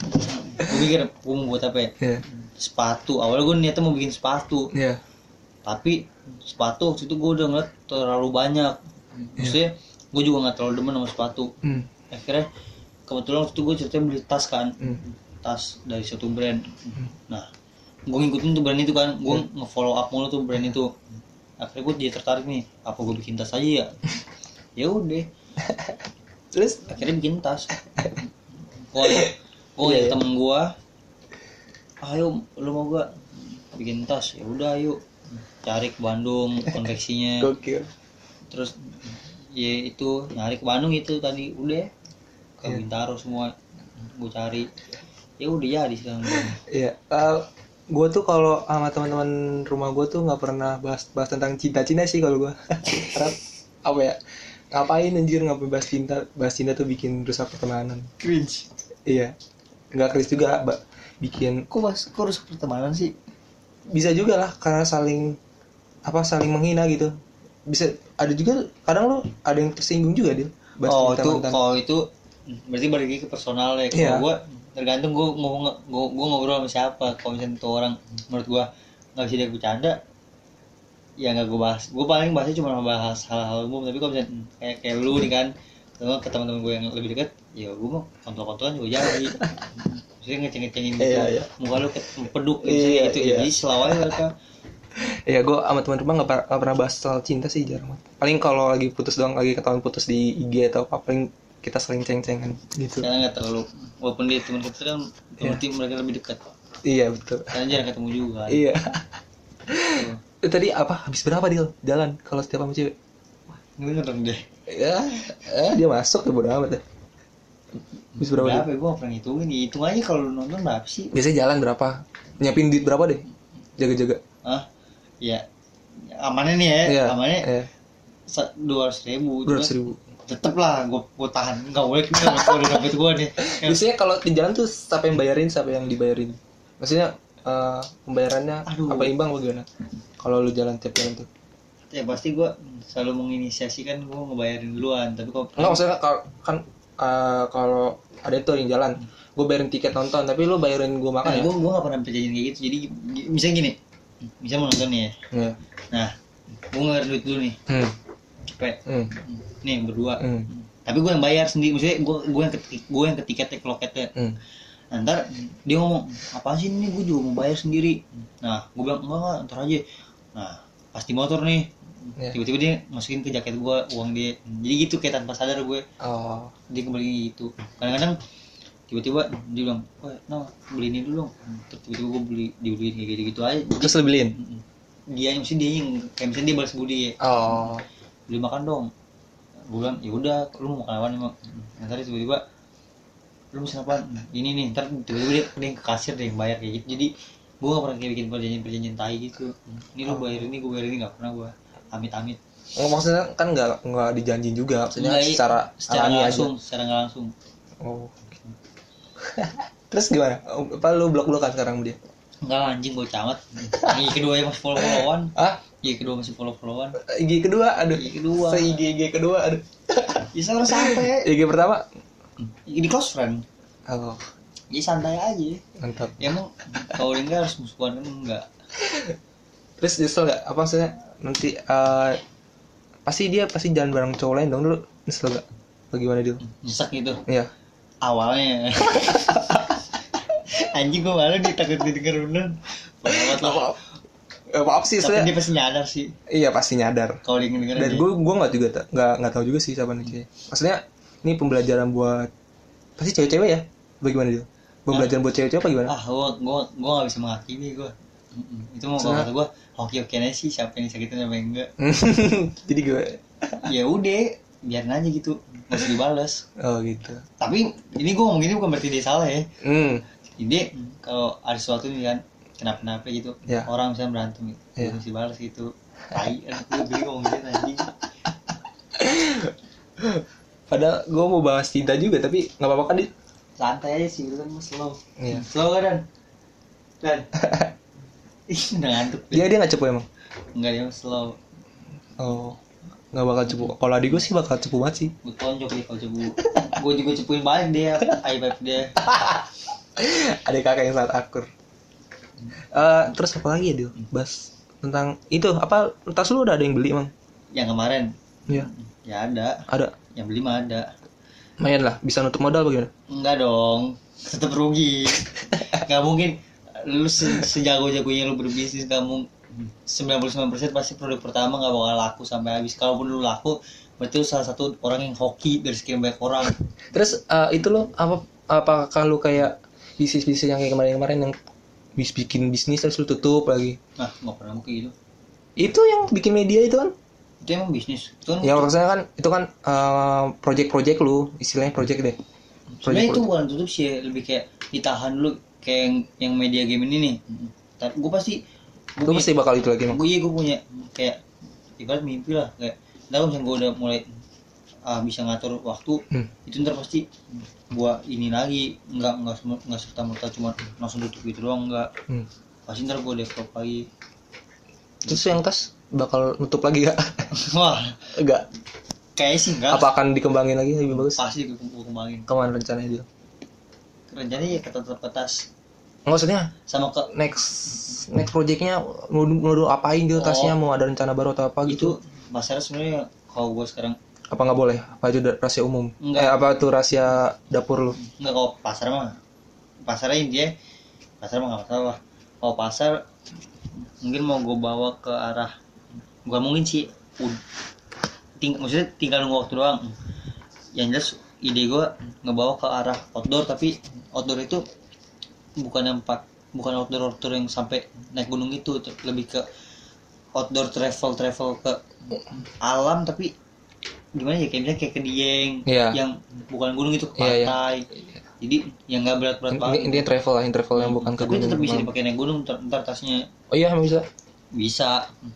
S2: gue mikir gue mau buat apa ya
S1: ya
S2: sepatu awalnya gue niatnya mau bikin sepatu
S1: ya
S2: tapi sepatu waktu itu gue udah ngeliat terlalu banyak maksudnya gue juga nggak terlalu demen sama sepatu
S1: hmm.
S2: akhirnya kebetulan waktu itu gue ceritanya beli tas kan
S1: Hmm.
S2: tas dari satu brand nah gue ngikutin tuh brand itu kan gue ngefollow up mulu tuh brand itu akhirnya gue jadi tertarik nih apa gue bikin tas aja ya ya udah
S1: terus
S2: akhirnya bikin tas gue gue ya temen gue ayo lu mau gak bikin tas ya udah ayo cari ke Bandung konveksinya
S1: gokil
S2: terus ya itu nyari ke Bandung itu tadi udah ya. ke Bintaro semua gue cari ya udah jadi sekarang
S1: ya gue tuh kalau sama teman-teman rumah gue tuh nggak pernah bahas bahas tentang cinta-cinta sih kalau gue apa ya ngapain anjir ngapain bahas cinta bahas cinta tuh bikin rusak pertemanan
S2: cringe
S1: iya nggak keris juga ba- bikin
S2: kok mas kok harus pertemanan sih
S1: bisa juga lah karena saling apa saling menghina gitu bisa ada juga kadang lo ada yang tersinggung juga dia
S2: oh itu
S1: mantan-mantan.
S2: kalau itu berarti balik lagi ke personal ya kalau
S1: Iya.
S2: gue tergantung gue mau nge- gua gua ngobrol sama siapa kalau misalnya tuh orang menurut gue nggak bisa dia bercanda ya nggak gue bahas gue paling bahasnya cuma bahas hal-hal umum tapi kalau misalnya hmm, kayak kayak lu nih kan kalau ke teman-teman gue yang lebih dekat ya gue mau kontol-kontolan juga jadi maksudnya ngeceng-ngecengin gitu
S1: Iya, iya.
S2: muka lu ke peduk gitu,
S1: Iya,
S2: gitu.
S1: iya.
S2: jadi selawanya mereka
S1: Iya, gue sama teman rumah nggak par- nggak pernah bahas soal cinta sih jarang. banget. Paling kalau lagi putus doang, lagi ketahuan putus di IG atau apa, paling kita saling ceng-cengan gitu.
S2: karena nggak terlalu walaupun dia teman kita kan berarti mereka lebih dekat
S1: Iya betul.
S2: karena jarang ketemu juga kan.
S1: Iya.
S2: Gitu.
S1: Eh, Tadi apa? Habis berapa deal jalan kalau setiap sama cewek?
S2: Bener dong deh.
S1: Ya, eh, dia masuk ya bodo amat ya. Habis berapa? Deal?
S2: Berapa ya? Gue gak pernah ngitungin. ya. Hitung aja kalau lu nonton berapa sih?
S1: Biasanya jalan berapa? Nyiapin duit berapa deh? Jaga-jaga.
S2: Hah? Ya. ya, Amannya nih ya.
S1: Iya.
S2: Amannya
S1: Iya.
S2: dua ratus ribu.
S1: Dua ratus ribu.
S2: Tetep lah. Gue gue tahan. Gak boleh kita nggak boleh udah dapet gue nih. Ya,
S1: Biasanya kalau di jalan tuh siapa yang bayarin, siapa yang dibayarin. Maksudnya eh, pembayarannya
S2: Aduh.
S1: apa imbang bagaimana? Kalau lu jalan tiap jalan tuh.
S2: ya pasti gue selalu menginisiasikan gue ngebayarin duluan. Tapi kok
S1: Enggak maksudnya kalau kan eh, kalau ada tuh yang jalan, gue bayarin tiket nonton, tapi lu bayarin gue makan
S2: Nah,
S1: ya?
S2: gue gue gak pernah perjanjian kayak gitu. Jadi gi- misalnya gini. Misalnya mau nonton nih ya.
S1: Iya.
S2: Nah. Gue ngeluarin duit dulu nih.
S1: Hmm.
S2: Cepet.
S1: Hmm.
S2: Nih berdua.
S1: Hmm.
S2: Tapi gue yang bayar sendiri. Maksudnya gue gue yang ketik gue yang ketiketnya ke loketnya.
S1: Hmm.
S2: Nah, ntar dia ngomong apa sih ini gue juga mau bayar sendiri nah gue bilang enggak enggak ntar aja nah pasti motor nih
S1: Iya.
S2: tiba-tiba dia masukin ke jaket gue uang dia jadi gitu kayak tanpa sadar gue
S1: Oh.
S2: dia kembali gitu kadang-kadang tiba-tiba dia bilang wah no beli ini dulu dong terus tiba-tiba gue beli dibeliin kayak gitu gitu aja
S1: Terus lu beliin?
S2: dia yang dia yang kayak misalnya dia balas budi ya
S1: Oh.
S2: beli makan dong gue bilang ya udah lu mau makan apa nih Mak?" nah, tadi tiba-tiba lu mesen apa ini nih ntar tiba-tiba dia, dia yang ke kasir dia yang bayar kayak gitu jadi gue gak pernah kayak bikin perjanjian perjanjian tai gitu ini lu bayar ini gue bayar ini gak pernah gue amit amit
S1: Nggak, maksudnya kan nggak nggak dijanjin juga, maksudnya secara
S2: secara
S1: alami
S2: nggak
S1: aja.
S2: langsung secara nggak langsung
S1: Oh. Terus gimana? Apa lu blok-blokan sekarang sama dia?
S2: enggak lah, anjing gue camat yang kedua yang masih follow followan
S1: Ah,
S2: yang kedua masih follow followan
S1: IG kedua, aduh.
S2: IG kedua.
S1: Se IG IG kedua, aduh.
S2: ya sekarang santai
S1: IG pertama.
S2: ini Hmm. close friend
S1: Oh,
S2: jadi santai aja
S1: mantap.
S2: ya emang kalau dia nggak harus musuhan enggak
S1: Terus nyesel nggak? Apa maksudnya nanti eh, pasti dia pasti jalan bareng cowok lain dong dulu. Nyesel nggak? Bagaimana dia?
S2: nyesek gitu
S1: Iya.
S2: awalnya anjing gue malu nih takut didengar bener banget lah
S1: Eh, maaf sih,
S2: tapi
S1: saya
S2: dia pasti nyadar sih
S1: iya pasti nyadar.
S2: kalau dia ngedengerin
S1: Dan
S2: dia.
S1: gue gue nggak juga ta- nggak nggak tahu juga sih siapa nih cewek. Maksudnya ini pembelajaran buat pasti cewek-cewek ya? Bagaimana dia? Pembelajaran buat cewek-cewek apa gimana?
S2: ah gue gue gue gak bisa menghakimi gue Mm-mm. itu mau
S1: Senang.
S2: kata gue hoki hokiannya sih siapa yang disakitin siapa yang enggak
S1: Jadi gue
S2: ya udah biarin aja gitu nggak usah dibales
S1: oh gitu.
S2: tapi ini gue ngomong gini bukan berarti dia salah ya
S1: Hmm.
S2: ide kalau ada sesuatu nih kan kenapa kenapa gitu
S1: Ya.
S2: orang misalnya berantem gitu
S1: Ya.
S2: yeah. mesti balas gitu tai aduh gue ngomong gitu anjing
S1: Padahal gue mau bahas cinta juga tapi nggak apa-apa kan Dit?
S2: santai aja sih kan mas slow
S1: Iya.
S2: slow kan dan dan ih udah ngantuk
S1: Iya, Dia dia nggak cepu emang.
S2: enggak dia mah slow
S1: Oh. nggak bakal cepu kalau adik gue sih bakal cepu banget sih
S2: Gue tonjok nih kalau cepu Gue juga cepuin balik dia Aibab dia
S1: adik kakak yang sangat akur Eh, terus apa lagi ya Dil? Bahas tentang itu apa tas lu udah ada yang beli emang
S2: Yang kemarin
S1: Iya
S2: Ya ada
S1: ada
S2: Yang beli mah ada
S1: lumayan lah bisa nutup modal bagaimana
S2: Enggak dong Tetep rugi Gak mungkin Lu se- sejago-jagonya lu berbisnis Gak mungkin 99% pasti produk pertama gak bakal laku sampai habis Kalaupun lu laku Berarti lu salah satu orang yang hoki dari sekian banyak orang
S1: terus eh, itu lo apa apakah lu kayak bisnis bisnis yang kayak kemarin kemarin yang bis bikin bisnis terus lu tutup lagi
S2: Nah gak pernah mau kayak gitu
S1: itu yang bikin media itu kan
S2: Itu emang bisnis Itu kan
S1: ya maksudnya kan itu kan eh, project-project lu istilahnya project deh
S2: sebenarnya itu bukan tutup sih lebih kayak ditahan dulu kayak yang, yang media game ini nih tapi gue pasti
S1: lu pasti bakal itu lagi emang
S2: gue iya gue punya kayak ibarat mimpi lah kayak ntar kalau misalnya gue udah mulai ah, bisa ngatur waktu
S1: Hmm.
S2: itu ntar pasti gue ini lagi nggak nggak semu- nggak serta merta cuma langsung tutup gitu doang nggak
S1: Hmm.
S2: pasti ntar gue develop lagi
S1: terus yang tas bakal nutup lagi gak
S2: wah
S1: enggak
S2: kayaknya sih nggak
S1: apa akan dikembangin lagi lebih bagus
S2: pasti gue gue kembangin
S1: kemana rencananya dia
S2: rencananya ya ketat kertas
S1: maksudnya
S2: sama ke
S1: next next projectnya mau, mau dulu apain gitu
S2: Oh.
S1: tasnya mau ada rencana baru atau apa
S2: itu
S1: gitu
S2: pasar sebenarnya kalau gue sekarang
S1: apa nggak boleh apa itu da- rahasia umum
S2: Enggak.
S1: eh apa itu rahasia dapur lu
S2: Enggak kalau pasar mah pasarnya dia pasar mah nggak masalah kalau pasar mungkin mau gue bawa ke arah gua mungkin sih ud- ting maksudnya tinggal nunggu waktu doang yang jelas ide gue ngebawa ke arah outdoor tapi outdoor itu bukan yang empat bukan outdoor outdoor yang sampai naik gunung itu te- lebih ke outdoor travel travel ke alam tapi gimana ya kayak misalnya kayak ke Dieng
S1: Iya.
S2: yang bukan gunung itu ke
S1: Iya, iya.
S2: pantai jadi yang nggak berat-berat
S1: In-
S2: banget Hmm.
S1: intinya travel lah yang travel yang bukan ke
S2: tapi
S1: gunung
S2: tetap bisa
S1: doang.
S2: dipakai naik gunung ntar, ntar tasnya
S1: oh iya emang bisa
S2: bisa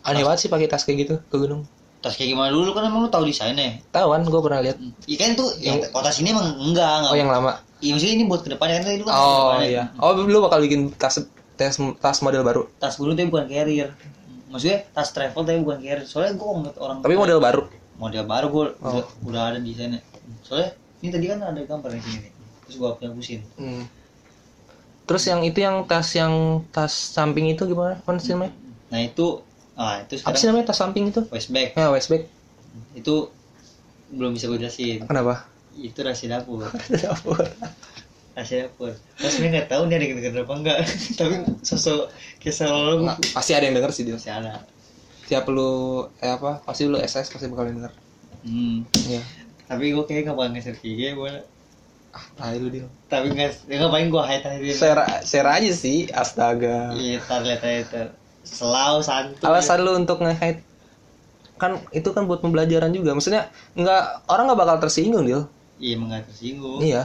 S1: aneh banget sih pakai tas kayak gitu ke gunung
S2: tas kayak gimana dulu kan emang lu tahu desainnya
S1: tawan gue pernah lihat
S2: Iya kan tuh yang kota sini emang enggak enggak.
S1: oh yang lama
S2: Iya maksudnya ini buat kedepannya kan itu kan
S1: oh
S2: kedepannya.
S1: iya oh lu bakal bikin tas tas tas model baru
S2: Tas gunung tapi bukan carrier. Maksudnya tas travel tapi bukan carrier. Soalnya gue ngeliat orang
S1: tapi model Oh. baru
S2: model baru gue udah, udah ada desainnya. Soalnya ini tadi kan ada gambar di sini nih. Terus gue hapusin.
S1: Hmm. Terus yang itu yang tas yang tas samping itu gimana? Apa sih namanya?
S2: Nah itu ah itu
S1: Apa sih
S2: sekarang
S1: namanya tas samping itu?
S2: westback
S1: Ya westback.
S2: itu belum bisa gue jelasin.
S1: Kenapa?
S2: Itu rahasia dapur.
S1: Ya
S2: Rahasia dapur. Terus ini nggak tahu nih ada yang denger apa enggak. tapi sosok kayak selalu
S1: Nah, pasti ada yang denger sih dia.
S2: masih ada.
S1: Tiap lu eh apa? Pasti lu SS pasti bakal yang denger.
S2: Hmm.
S1: Iya.
S2: tapi gue kayaknya gak bakal ngeser IG gue
S1: Ah, tai lu dia.
S2: tapi nggak ya nggak paling gue hide hide
S1: Share share aja sih, astaga.
S2: iya tar lihat aja tar selau santuy
S1: Alasan lu untuk nge-hide kan itu kan buat pembelajaran juga. Maksudnya nggak orang nggak bakal tersinggung, Dil.
S2: iya emang nggak tersinggung
S1: Iya.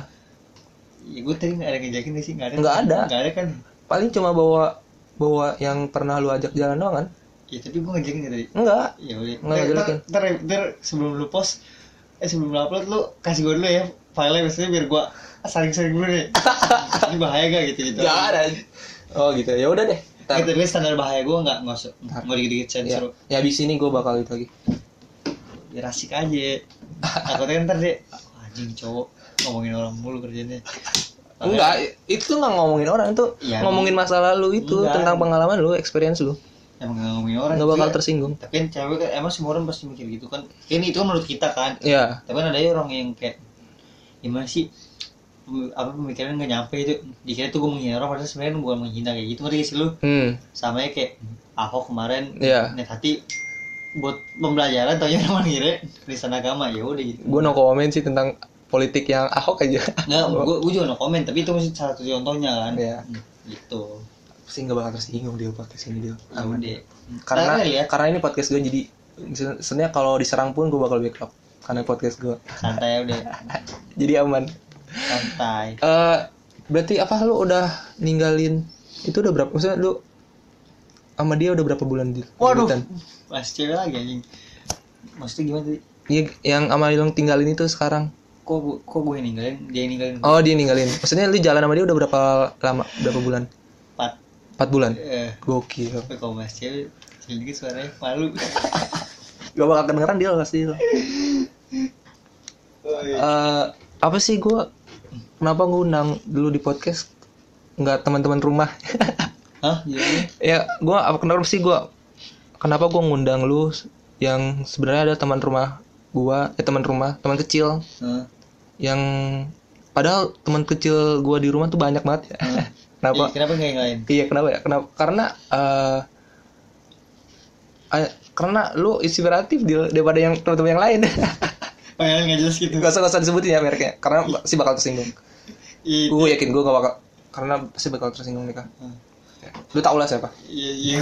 S2: iya gue tadi nggak ada yang ngejakin nggak sih nggak ada
S1: Nggak ada.
S2: nggak ada kan
S1: Paling cuma bawa bawa yang pernah lu ajak jalan doang kan?
S2: iya tapi gue ngejakin nggak tadi
S1: Enggak.
S2: iya udah
S1: Nggak
S2: Ntar-
S1: ngejelekin.
S2: ntar ntar- ntar sebelum lu post eh sebelum lu upload lu kasih gue dulu ya filenya biasanya biar gue saring-saring dulu deh ini bahaya gak gitu gitu
S1: ada. Oh gitu. Ya udah deh. Ntar.
S2: Gitu, tapi standar bahaya gue nggak nggak usah
S1: Ntar.
S2: nggak dikit-dikit
S1: Ya,
S2: sensor
S1: ya abis ini gue bakal itu lagi.
S2: biar asik "Ya, aja takutnya kan ntar dia "Wah, anjing cowok ngomongin orang mulu kerjanya
S1: Enggak, itu tuh nggak ngomongin orang itu
S2: Iya.
S1: ngomongin masa lalu itu
S2: Enggak.
S1: tentang pengalaman lu, experience lu.
S2: emang nggak ngomongin orang
S1: Nggak bakal
S2: Juga-
S1: tersinggung.
S2: tapi kan cewek kan emang semua orang pasti mikir gitu kan ini itu kan menurut kita kan
S1: Ya,
S2: tapi kan ada aja orang yang kayak gimana sih Pem- apa pemikiran nggak nyampe itu dikira tuh gue menghina orang padahal sebenarnya bukan menghina kayak gitu ngerti gak sih lu
S1: hmm,
S2: sama aja kayak Ahok kemarin
S1: Iya.
S2: net hati buat pembelajaran taunya orang mengira penistaan agama ya udah gitu
S1: gue no comment sih tentang politik yang ahok aja.
S2: nggak gue gue juga no comment tapi itu masih salah satu contohnya kan
S1: Iya.
S2: gitu
S1: Pasti nggak bakal tersinggung dia podcast ini dia.
S2: aman deh
S1: Karena
S2: ya
S1: karena ini podcast gue jadi se- sebenarnya kalau diserang pun gue bakal backup karena podcast gue.
S2: santai ya udah
S1: Jadi aman.
S2: santai
S1: Eh berarti apa lu udah ninggalin itu udah berapa? Maksudnya lu sama dia udah berapa bulan di?
S2: Waduh,
S1: debutan?
S2: masih cewek lagi anjing. Maksudnya gimana tadi?
S1: Iya, yang sama yang tinggalin itu sekarang.
S2: Kok gue, kok gue yang ninggalin, dia yang ninggalin
S1: Oh, dia ninggalin. Maksudnya lu jalan sama dia udah berapa lama? Berapa bulan?
S2: empat.
S1: 4 bulan.
S2: Eh,
S1: Gokil.
S2: tapi kalau masih cewek, sedikit suaranya malu.
S1: Gak bakal kedengeran dia pasti. Eh, apa sih gua kenapa gue undang dulu di podcast nggak teman-teman rumah
S2: Hah? Iya.
S1: ya gua apa kenapa sih gua kenapa gua ngundang lu yang sebenarnya ada teman rumah gua eh teman rumah teman kecil
S2: Hah?
S1: yang padahal teman kecil gua di rumah tuh banyak banget ya.
S2: Hmm.
S1: kenapa
S2: Iya, Kenapa nggak yang lain?
S1: iya kenapa ya kenapa karena eh eh, karena lu inspiratif di- daripada yang teman-teman yang lain
S2: Oh, yang lain nggak jelas gitu.
S1: gak usah gak usah disebutin ya mereknya karena pasti bakal tersinggung
S2: Iya,
S1: gue yakin gue gak bakal karena pasti bakal tersinggung nih kan
S2: Hmm.
S1: Ya. lu tau lah siapa
S2: iya, iya.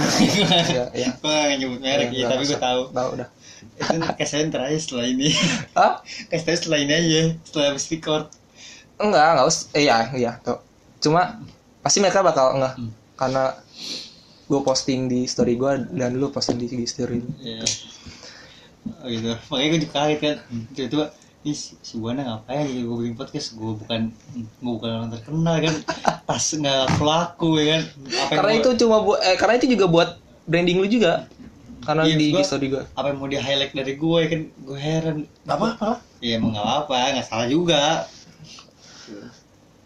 S1: Iya, iya.
S2: Gue nggak nyebut
S1: Ya,
S2: merek, iya,
S1: nggak
S2: tapi gue
S1: usah.
S2: tahu.
S1: tahu udah
S2: Itu kan kasihan terakhir setelah ini.
S1: ah
S2: Kasih tau setelah ini Kan aja, setelah habis record.
S1: enggak enggak usah eh, iya iya tau cuma pasti mereka bakal enggak
S2: Hmm.
S1: karena gue posting di story gue dan lu posting di, di story lu.
S2: Iya. Oh gitu. Makanya gue juga kaget kan. Tiba-tiba ini si si Buana ngapain gitu gue bikin podcast gue bukan gue bukan orang terkenal kan pas nggak laku ya kan apa yang
S1: karena
S2: mau-
S1: itu cuma buat eh, karena itu juga buat branding lu juga karena
S2: Iya,
S1: di,
S2: gua-
S1: di story gue
S2: apa yang mau di highlight dari gue ya kan gue heran
S1: Gak apa-apa lah
S2: ya emang nggak apa nggak salah juga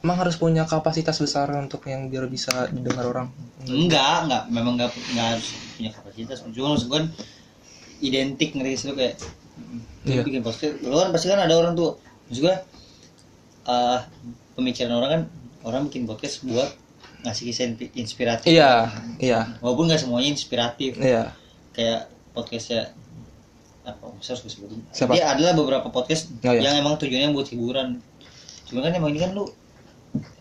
S1: emang harus punya kapasitas besar untuk yang biar bisa didengar orang
S2: enggak enggak memang enggak enggak harus punya kapasitas cuma maksud gue kan identik ngeri sih lu kayak
S1: Iya.
S2: lu bikin podcast lu kan pasti kan ada orang tuh maksud gue eh pemikiran orang kan orang bikin podcast buat ngasih kisah inpi- inspiratif
S1: iya iya
S2: walaupun nggak semuanya inspiratif
S1: iya
S2: kayak podcastnya apa masa harus gue sebutin
S1: Siapa?
S2: dia adalah beberapa podcast
S1: Oh, iya.
S2: yang emang tujuannya buat hiburan cuma kan emang ini kan lu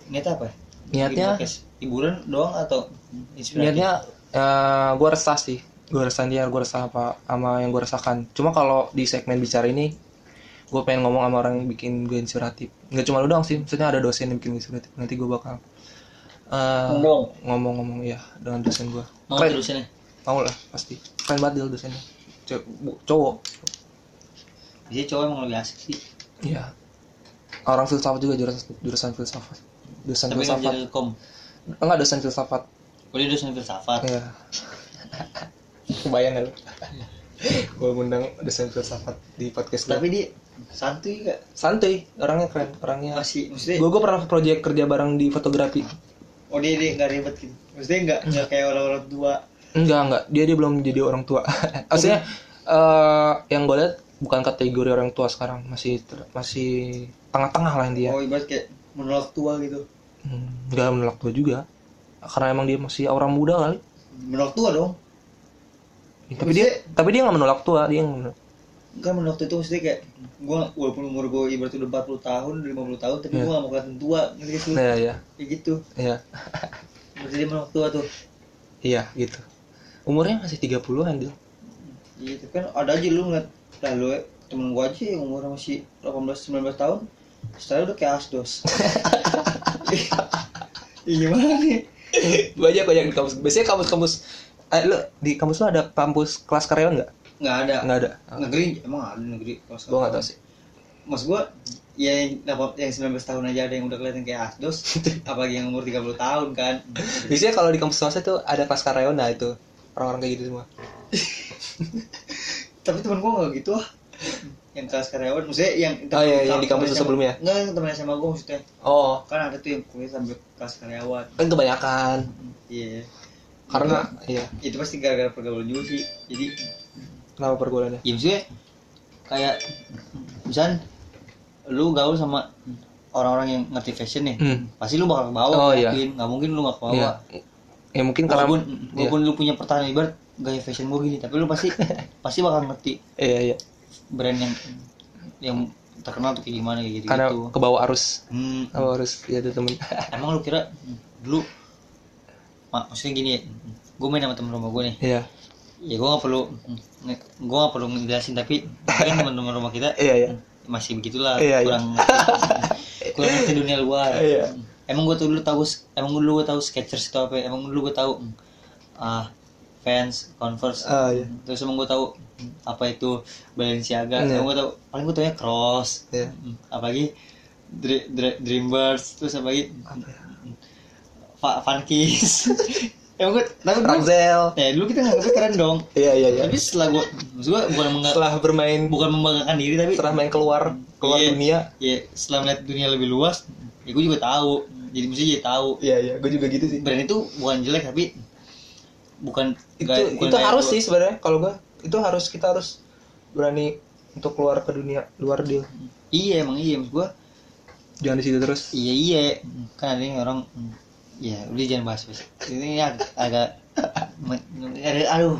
S2: niatnya apa ya? Bikin
S1: niatnya
S2: podcast? hiburan doang atau inspiratif
S1: niatnya gue resah sih gue resah dia gue resah apa sama yang gue resahkan cuma kalau di segmen bicara ini gue pengen ngomong sama orang yang bikin gue inspiratif nggak cuma lu doang sih maksudnya ada dosen yang bikin gue inspiratif nanti gue bakal eh,
S2: Ngomong.
S1: ngomong-ngomong ya dengan dosen gue
S2: mau
S1: keren
S2: terusin ya
S1: mau lah pasti keren banget dia dosennya Ce- bu- cowok
S2: biasanya cowok emang lebih asik sih
S1: iya orang filsafat juga jurusan jurusan filsafat dosen
S2: tapi nggak
S1: filsafat
S2: jadi kom
S1: enggak dosen filsafat
S2: udah dosen filsafat
S1: Iya. Kebayang gak lu? gue ngundang dosen filsafat di podcast gue.
S2: tapi dia santuy gak
S1: santuy, orangnya keren, orangnya.
S2: masih maksudnya
S1: Gue gue pernah proyek kerja bareng di fotografi.
S2: oh dia dia nggak ribet gitu maksudnya nggak nggak kayak orang-orang tua
S1: Enggak enggak, dia dia belum jadi orang tua. Maksudnya eh yang gue lihat bukan kategori orang tua sekarang, masih ter- masih tengah-tengah lah dia.
S2: oh ibarat kayak menolak tua gitu
S1: Enggak menolak tua juga, karena emang dia masih orang muda kali.
S2: menolak tua dong
S1: Tapi dia tapi dia nggak menolak tua, dia nggak menolak.
S2: kan menolak tua itu maksudnya kayak gue walaupun umur gue ibarat udah 40 tahun udah 50 tahun tapi
S1: Iya.
S2: gue gak mau kelihatan tua ngerti gak sih lu?
S1: Iya iya
S2: kayak gitu
S1: iya.
S2: maksudnya dia menolak tua tuh
S1: Iya gitu. Umurnya masih 30-an dia.
S2: iya tapi kan ada aja lu ngeliat lah lu ya, temen gue aja yang umur masih 18-19 tahun setelah udah kayak asdos iya gimana nih
S1: banyak banyak di kampus biasanya kampus-kampus eh, lu di kampus lu ada kampus kelas karyawan nggak
S2: nggak ada
S1: nggak ada
S2: negeri emang ada negeri kalau
S1: gue nggak tahu sih
S2: mas gue ya yang, delapan- yang 19 tahun aja ada yang udah kelihatan kayak asdos apalagi yang umur 30 tahun kan
S1: biasanya kalau di kampus swasta tuh ada kelas karyawan nah itu orang-orang kayak gitu semua
S2: tapi temen gue nggak gitu ah yang kelas karyawan maksudnya yang
S1: Oh, iya, yang di kampus
S2: temen
S1: sebelumnya?
S2: SMA, enggak yang temen SMA gue maksudnya
S1: oh
S2: kan ada tuh yang kuliah sambil kelas karyawan
S1: kan kebanyakan
S2: iya
S1: karena iya
S2: itu pasti gara-gara pergaulan juga sih jadi
S1: kenapa pergaulannya
S2: ya maksudnya kayak misal lu gaul sama orang-orang yang ngerti fashion nih
S1: hmm.
S2: pasti lu bakal ke bawah
S1: Oh, iya.
S2: yakin nggak mungkin lu nggak ke bawah
S1: Iya. ya mungkin karena iya.
S2: walaupun walaupun lu punya pertahanan ibarat gaya fashion gue gini tapi lu pasti pasti bakal ngerti
S1: iya iya, iya.
S2: brand yang yang terkenal tuh kayak gimana kayak gitu
S1: karena
S2: gitu
S1: ke bawah arus
S2: Hmm, eh,
S1: ke bawah arus ya ada temen
S2: emang lu kira dulu mak maksudnya gini ya, gue main sama temen rumah gue nih
S1: iya
S2: ya gue gak perlu gue gak perlu ngejelasin tapi kan teman-teman rumah kita
S1: iya iya
S2: masih begitulah
S1: Iya, iya.
S2: kurang ngerti- kurang ngerti dunia luar
S1: Iya.
S2: emang gue tuh dulu tahu emang dulu gue tahu sketchers itu apa ya? emang dulu gue tahu ah fans converse
S1: Ah, iya.
S2: terus emang gue tahu hmm, apa itu Balenciaga
S1: Iya.
S2: emang gue tahu paling gue taunya cross Hmm,
S1: Iya.
S2: apalagi Dre-
S1: ya?
S2: Dre- Dreambirds terus apalagi
S1: Apa ya?
S2: Fa- Funkies Emang gue, tapi dulu,
S1: Razel
S2: ya dulu kita nggak keren dong.
S1: iya iya iya
S2: Tapi setelah gue, maksud gue bukan mengga-
S1: setelah bermain
S2: bukan membanggakan diri tapi
S1: setelah main keluar keluar
S2: Iya.
S1: dunia
S2: ya setelah melihat dunia lebih luas, ya gue juga tahu. Jadi mesti jadi tahu.
S1: iya iya gue juga gitu sih
S2: Brand itu bukan jelek tapi bukan
S1: itu
S2: gaya- bukan
S1: itu
S2: gaya
S1: harus
S2: gua.
S1: sih sebenarnya kalau gue itu harus kita harus berani untuk keluar ke dunia luar deal
S2: Iya emang iya maksud gue.
S1: jangan di situ terus
S2: Iya iya kan ada yang orang hmm, ya udah jangan bahas bahas ini ag- agak men- ada- aduh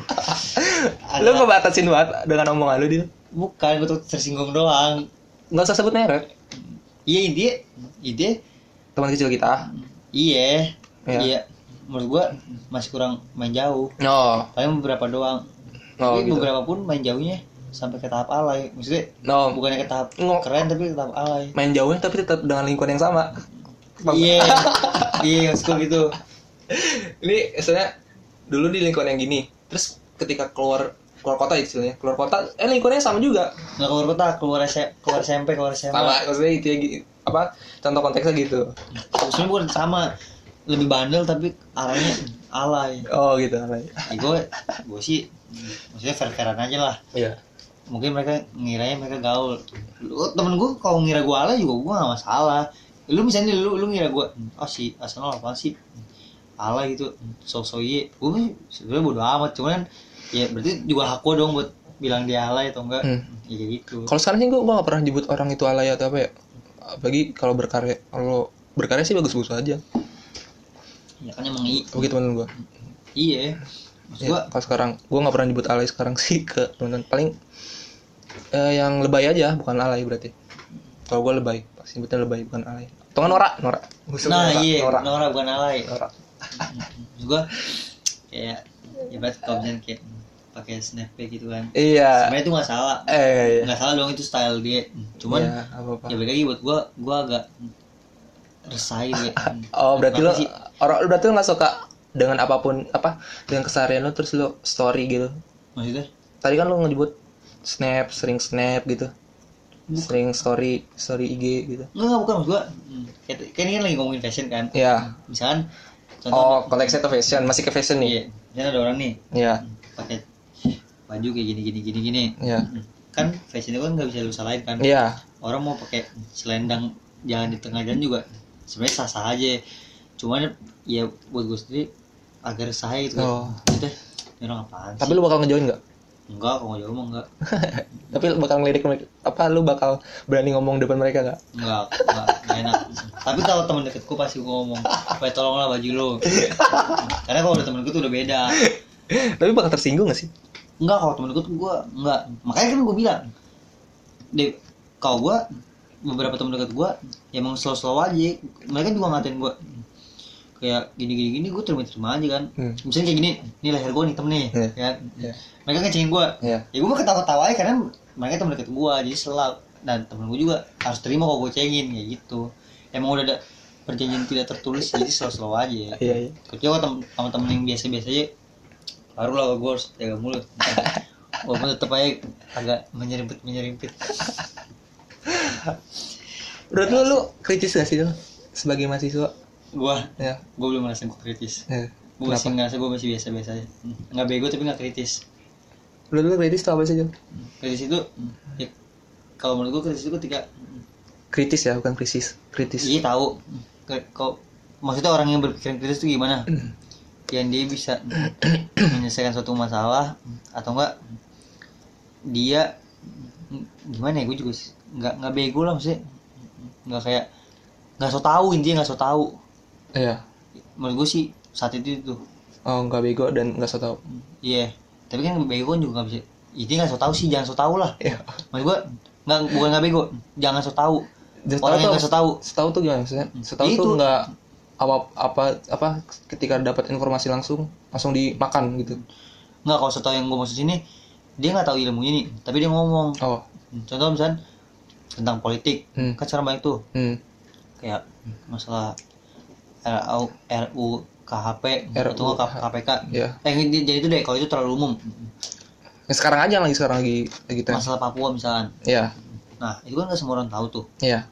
S1: lu
S2: agak,
S1: ngebatasin banget dengan omongan lu deal
S2: bukan gue tuh tersinggung doang
S1: nggak usah sebut merek
S2: iya ide ide
S1: teman kecil kita
S2: iya
S1: Iya.
S2: iya menurut gua masih kurang main jauh
S1: no
S2: paling beberapa doang
S1: no
S2: tapi
S1: gitu
S2: beberapa pun main jauhnya sampai ke tahap alay maksudnya
S1: no
S2: bukannya ke tahap
S1: Oh. Ngo-
S2: keren tapi ke tahap alay
S1: main jauhnya tapi tetap dengan lingkungan yang sama
S2: iya iya maksud gua gitu
S1: ini misalnya dulu di lingkungan yang gini terus ketika keluar keluar kota istilahnya keluar kota eh lingkungannya sama juga
S2: nggak keluar kota keluar S- E, keluar SMP keluar SMA
S1: sama maksudnya itu ya gi- apa contoh konteksnya gitu
S2: Maksudnya bukan sama lebih bandel tapi arahnya alay.
S1: oh gitu
S2: Ya gue gue sih maksudnya fair fairan aja lah.
S1: iya
S2: Mungkin mereka ngiranya mereka gaul. Lu temen gue kalau ngira gue alay juga gue gak masalah. Lu misalnya lu lu ngira gue oh si Arsenal apa sih alay gitu so so iye. Gue sebenarnya bodo amat cuman ya berarti juga hak gue dong buat bilang dia alay atau enggak.
S1: Hmm.
S2: Ya kayak gitu.
S1: kalau sekarang sih gue gak pernah nyebut orang itu alay atau apa ya apalagi kalau berkarya kalau berkarya sih bagus-bagus aja
S2: Ya kan emang i-
S1: begitu temen gue
S2: iya. Maksud gue
S1: kalau sekarang gue gak pernah nyebut alay sekarang sih ke temen paling eh, yang lebay aja bukan alay berarti kalau gue lebay pasti nyebutnya lebay bukan alay atau nggak norak norak Gua suka
S2: Nah
S1: norak,
S2: iya,
S1: norak.
S2: Nora. bukan alay.
S1: Nora.
S2: Maksud gua kayak ya berarti kalau misalnya kayak pakai snapback gitu kan.
S1: iya
S2: Sebenarnya itu nggak salah,
S1: eh iya.
S2: nggak salah dong itu style dia. Cuman
S1: Iya, apa apa
S2: ya balik lagi buat gua, gua agak resah gitu. ya.
S1: oh berarti lo
S2: Kenapa sih?
S1: orang berarti lo nggak suka dengan apapun apa dengan keseharian lo terus lo story gitu
S2: Maksudnya?
S1: tadi kan lo nyebut snap sering snap gitu sering story story IG gitu
S2: Enggak, enggak bukan maksud gua. hmm, Kayak, kayak ini kan lagi ngomongin fashion kan.
S1: ya
S2: Misalkan contoh
S1: oh konteksnya ke fashion masih ke fashion nih
S2: iya, misalnya ada orang nih
S1: ya
S2: pakai baju kayak gini gini gini gini.
S1: ya
S2: Kan fashion itu kan nggak bisa lu salahin kan.
S1: ya
S2: orang mau pakai selendang jalan di tengah jalan juga sebenarnya sah sah aja cuman ya buat gue sendiri agar sah gitu
S1: Oh.
S2: kan udah ini orang apaan
S1: tapi
S2: sih
S1: lu bakal ngejoin nggak
S2: enggak kalau nggak jauh mah enggak
S1: tapi lu bakal ngelirik mereka apa lu bakal berani ngomong depan mereka nggak
S2: enggak enggak enggak enak tapi kalau temen deketku pasti gue ngomong "Weh, tolonglah baju lo karena kalau udah temen gue tuh udah beda
S1: tapi bakal tersinggung gak sih
S2: enggak kalau temen gue tuh gue enggak makanya kan gue bilang deh kalau gue beberapa temen dekat gue ya emang slow slow aja mereka juga ngatain gue kayak gini gini gini gue terima terima aja kan
S1: Hmm.
S2: misalnya kayak gini ini leher gue nih temen nih
S1: Iya.
S2: ya kan?
S1: Iya.
S2: mereka ngecengin gue
S1: Iya.
S2: ya gue mah ketawa ketawa aja karena mereka temen dekat gue jadi selalu dan temen gue juga harus terima kalau gue cengin kayak gitu emang udah ada perjanjian tidak tertulis jadi slow slow aja
S1: iya iya
S2: kecuali kalau tem- sama temen yang biasa-biasa aja baru lah gue harus jaga mulut walaupun tetep aja agak menyerimpit menyerimpit
S1: menurut lu lu kritis gak sih lu sebagai mahasiswa
S2: gue
S1: ya
S2: gue belum merasa gue kritis
S1: ya.
S2: gue masih ngerasa gue masih biasa-biasa aja nggak bego tapi nggak kritis
S1: menurut lu kritis tuh apa sih Jul?
S2: kritis itu ya, kalau menurut gue kritis itu ketika
S1: kritis ya bukan krisis kritis
S2: iya tahu Ke- kok maksudnya orang yang berpikiran kritis itu gimana yang dia bisa menyelesaikan suatu masalah atau enggak dia gimana ya gue juga sih, nggak nggak bego lah maksudnya nggak kayak nggak so tau intinya nggak so tau
S1: iya
S2: menurut gue sih saat itu tuh
S1: oh nggak bego dan nggak so tau
S2: iya tapi kan bego kan juga nggak bisa intinya nggak so tau sih jangan so tau lah
S1: iya
S2: maksud gue nggak bukan nggak bego jangan so tau
S1: Dia
S2: orang yang
S1: tahu
S2: nggak so tau
S1: setahu tuh gimana maksudnya setahu
S2: Itu.
S1: tuh nggak apa apa apa ketika dapat informasi langsung langsung dimakan gitu
S2: nggak kalau so tau yang gue maksud sini dia nggak tahu ilmunya nih tapi dia ngomong
S1: oh
S2: contoh misalnya tentang politik
S1: Hmm.
S2: kan sekarang banyak tuh
S1: hmm.
S2: kayak masalah RU, RU KHP
S1: RU.
S2: atau nggak KPK
S1: ya
S2: eh ini- jadi itu deh kalau itu terlalu umum
S1: Nah, sekarang aja lagi sekarang lagi lagi tren
S2: masalah Papua misalkan
S1: ya
S2: nah itu kan nggak semua orang tahu tuh
S1: ya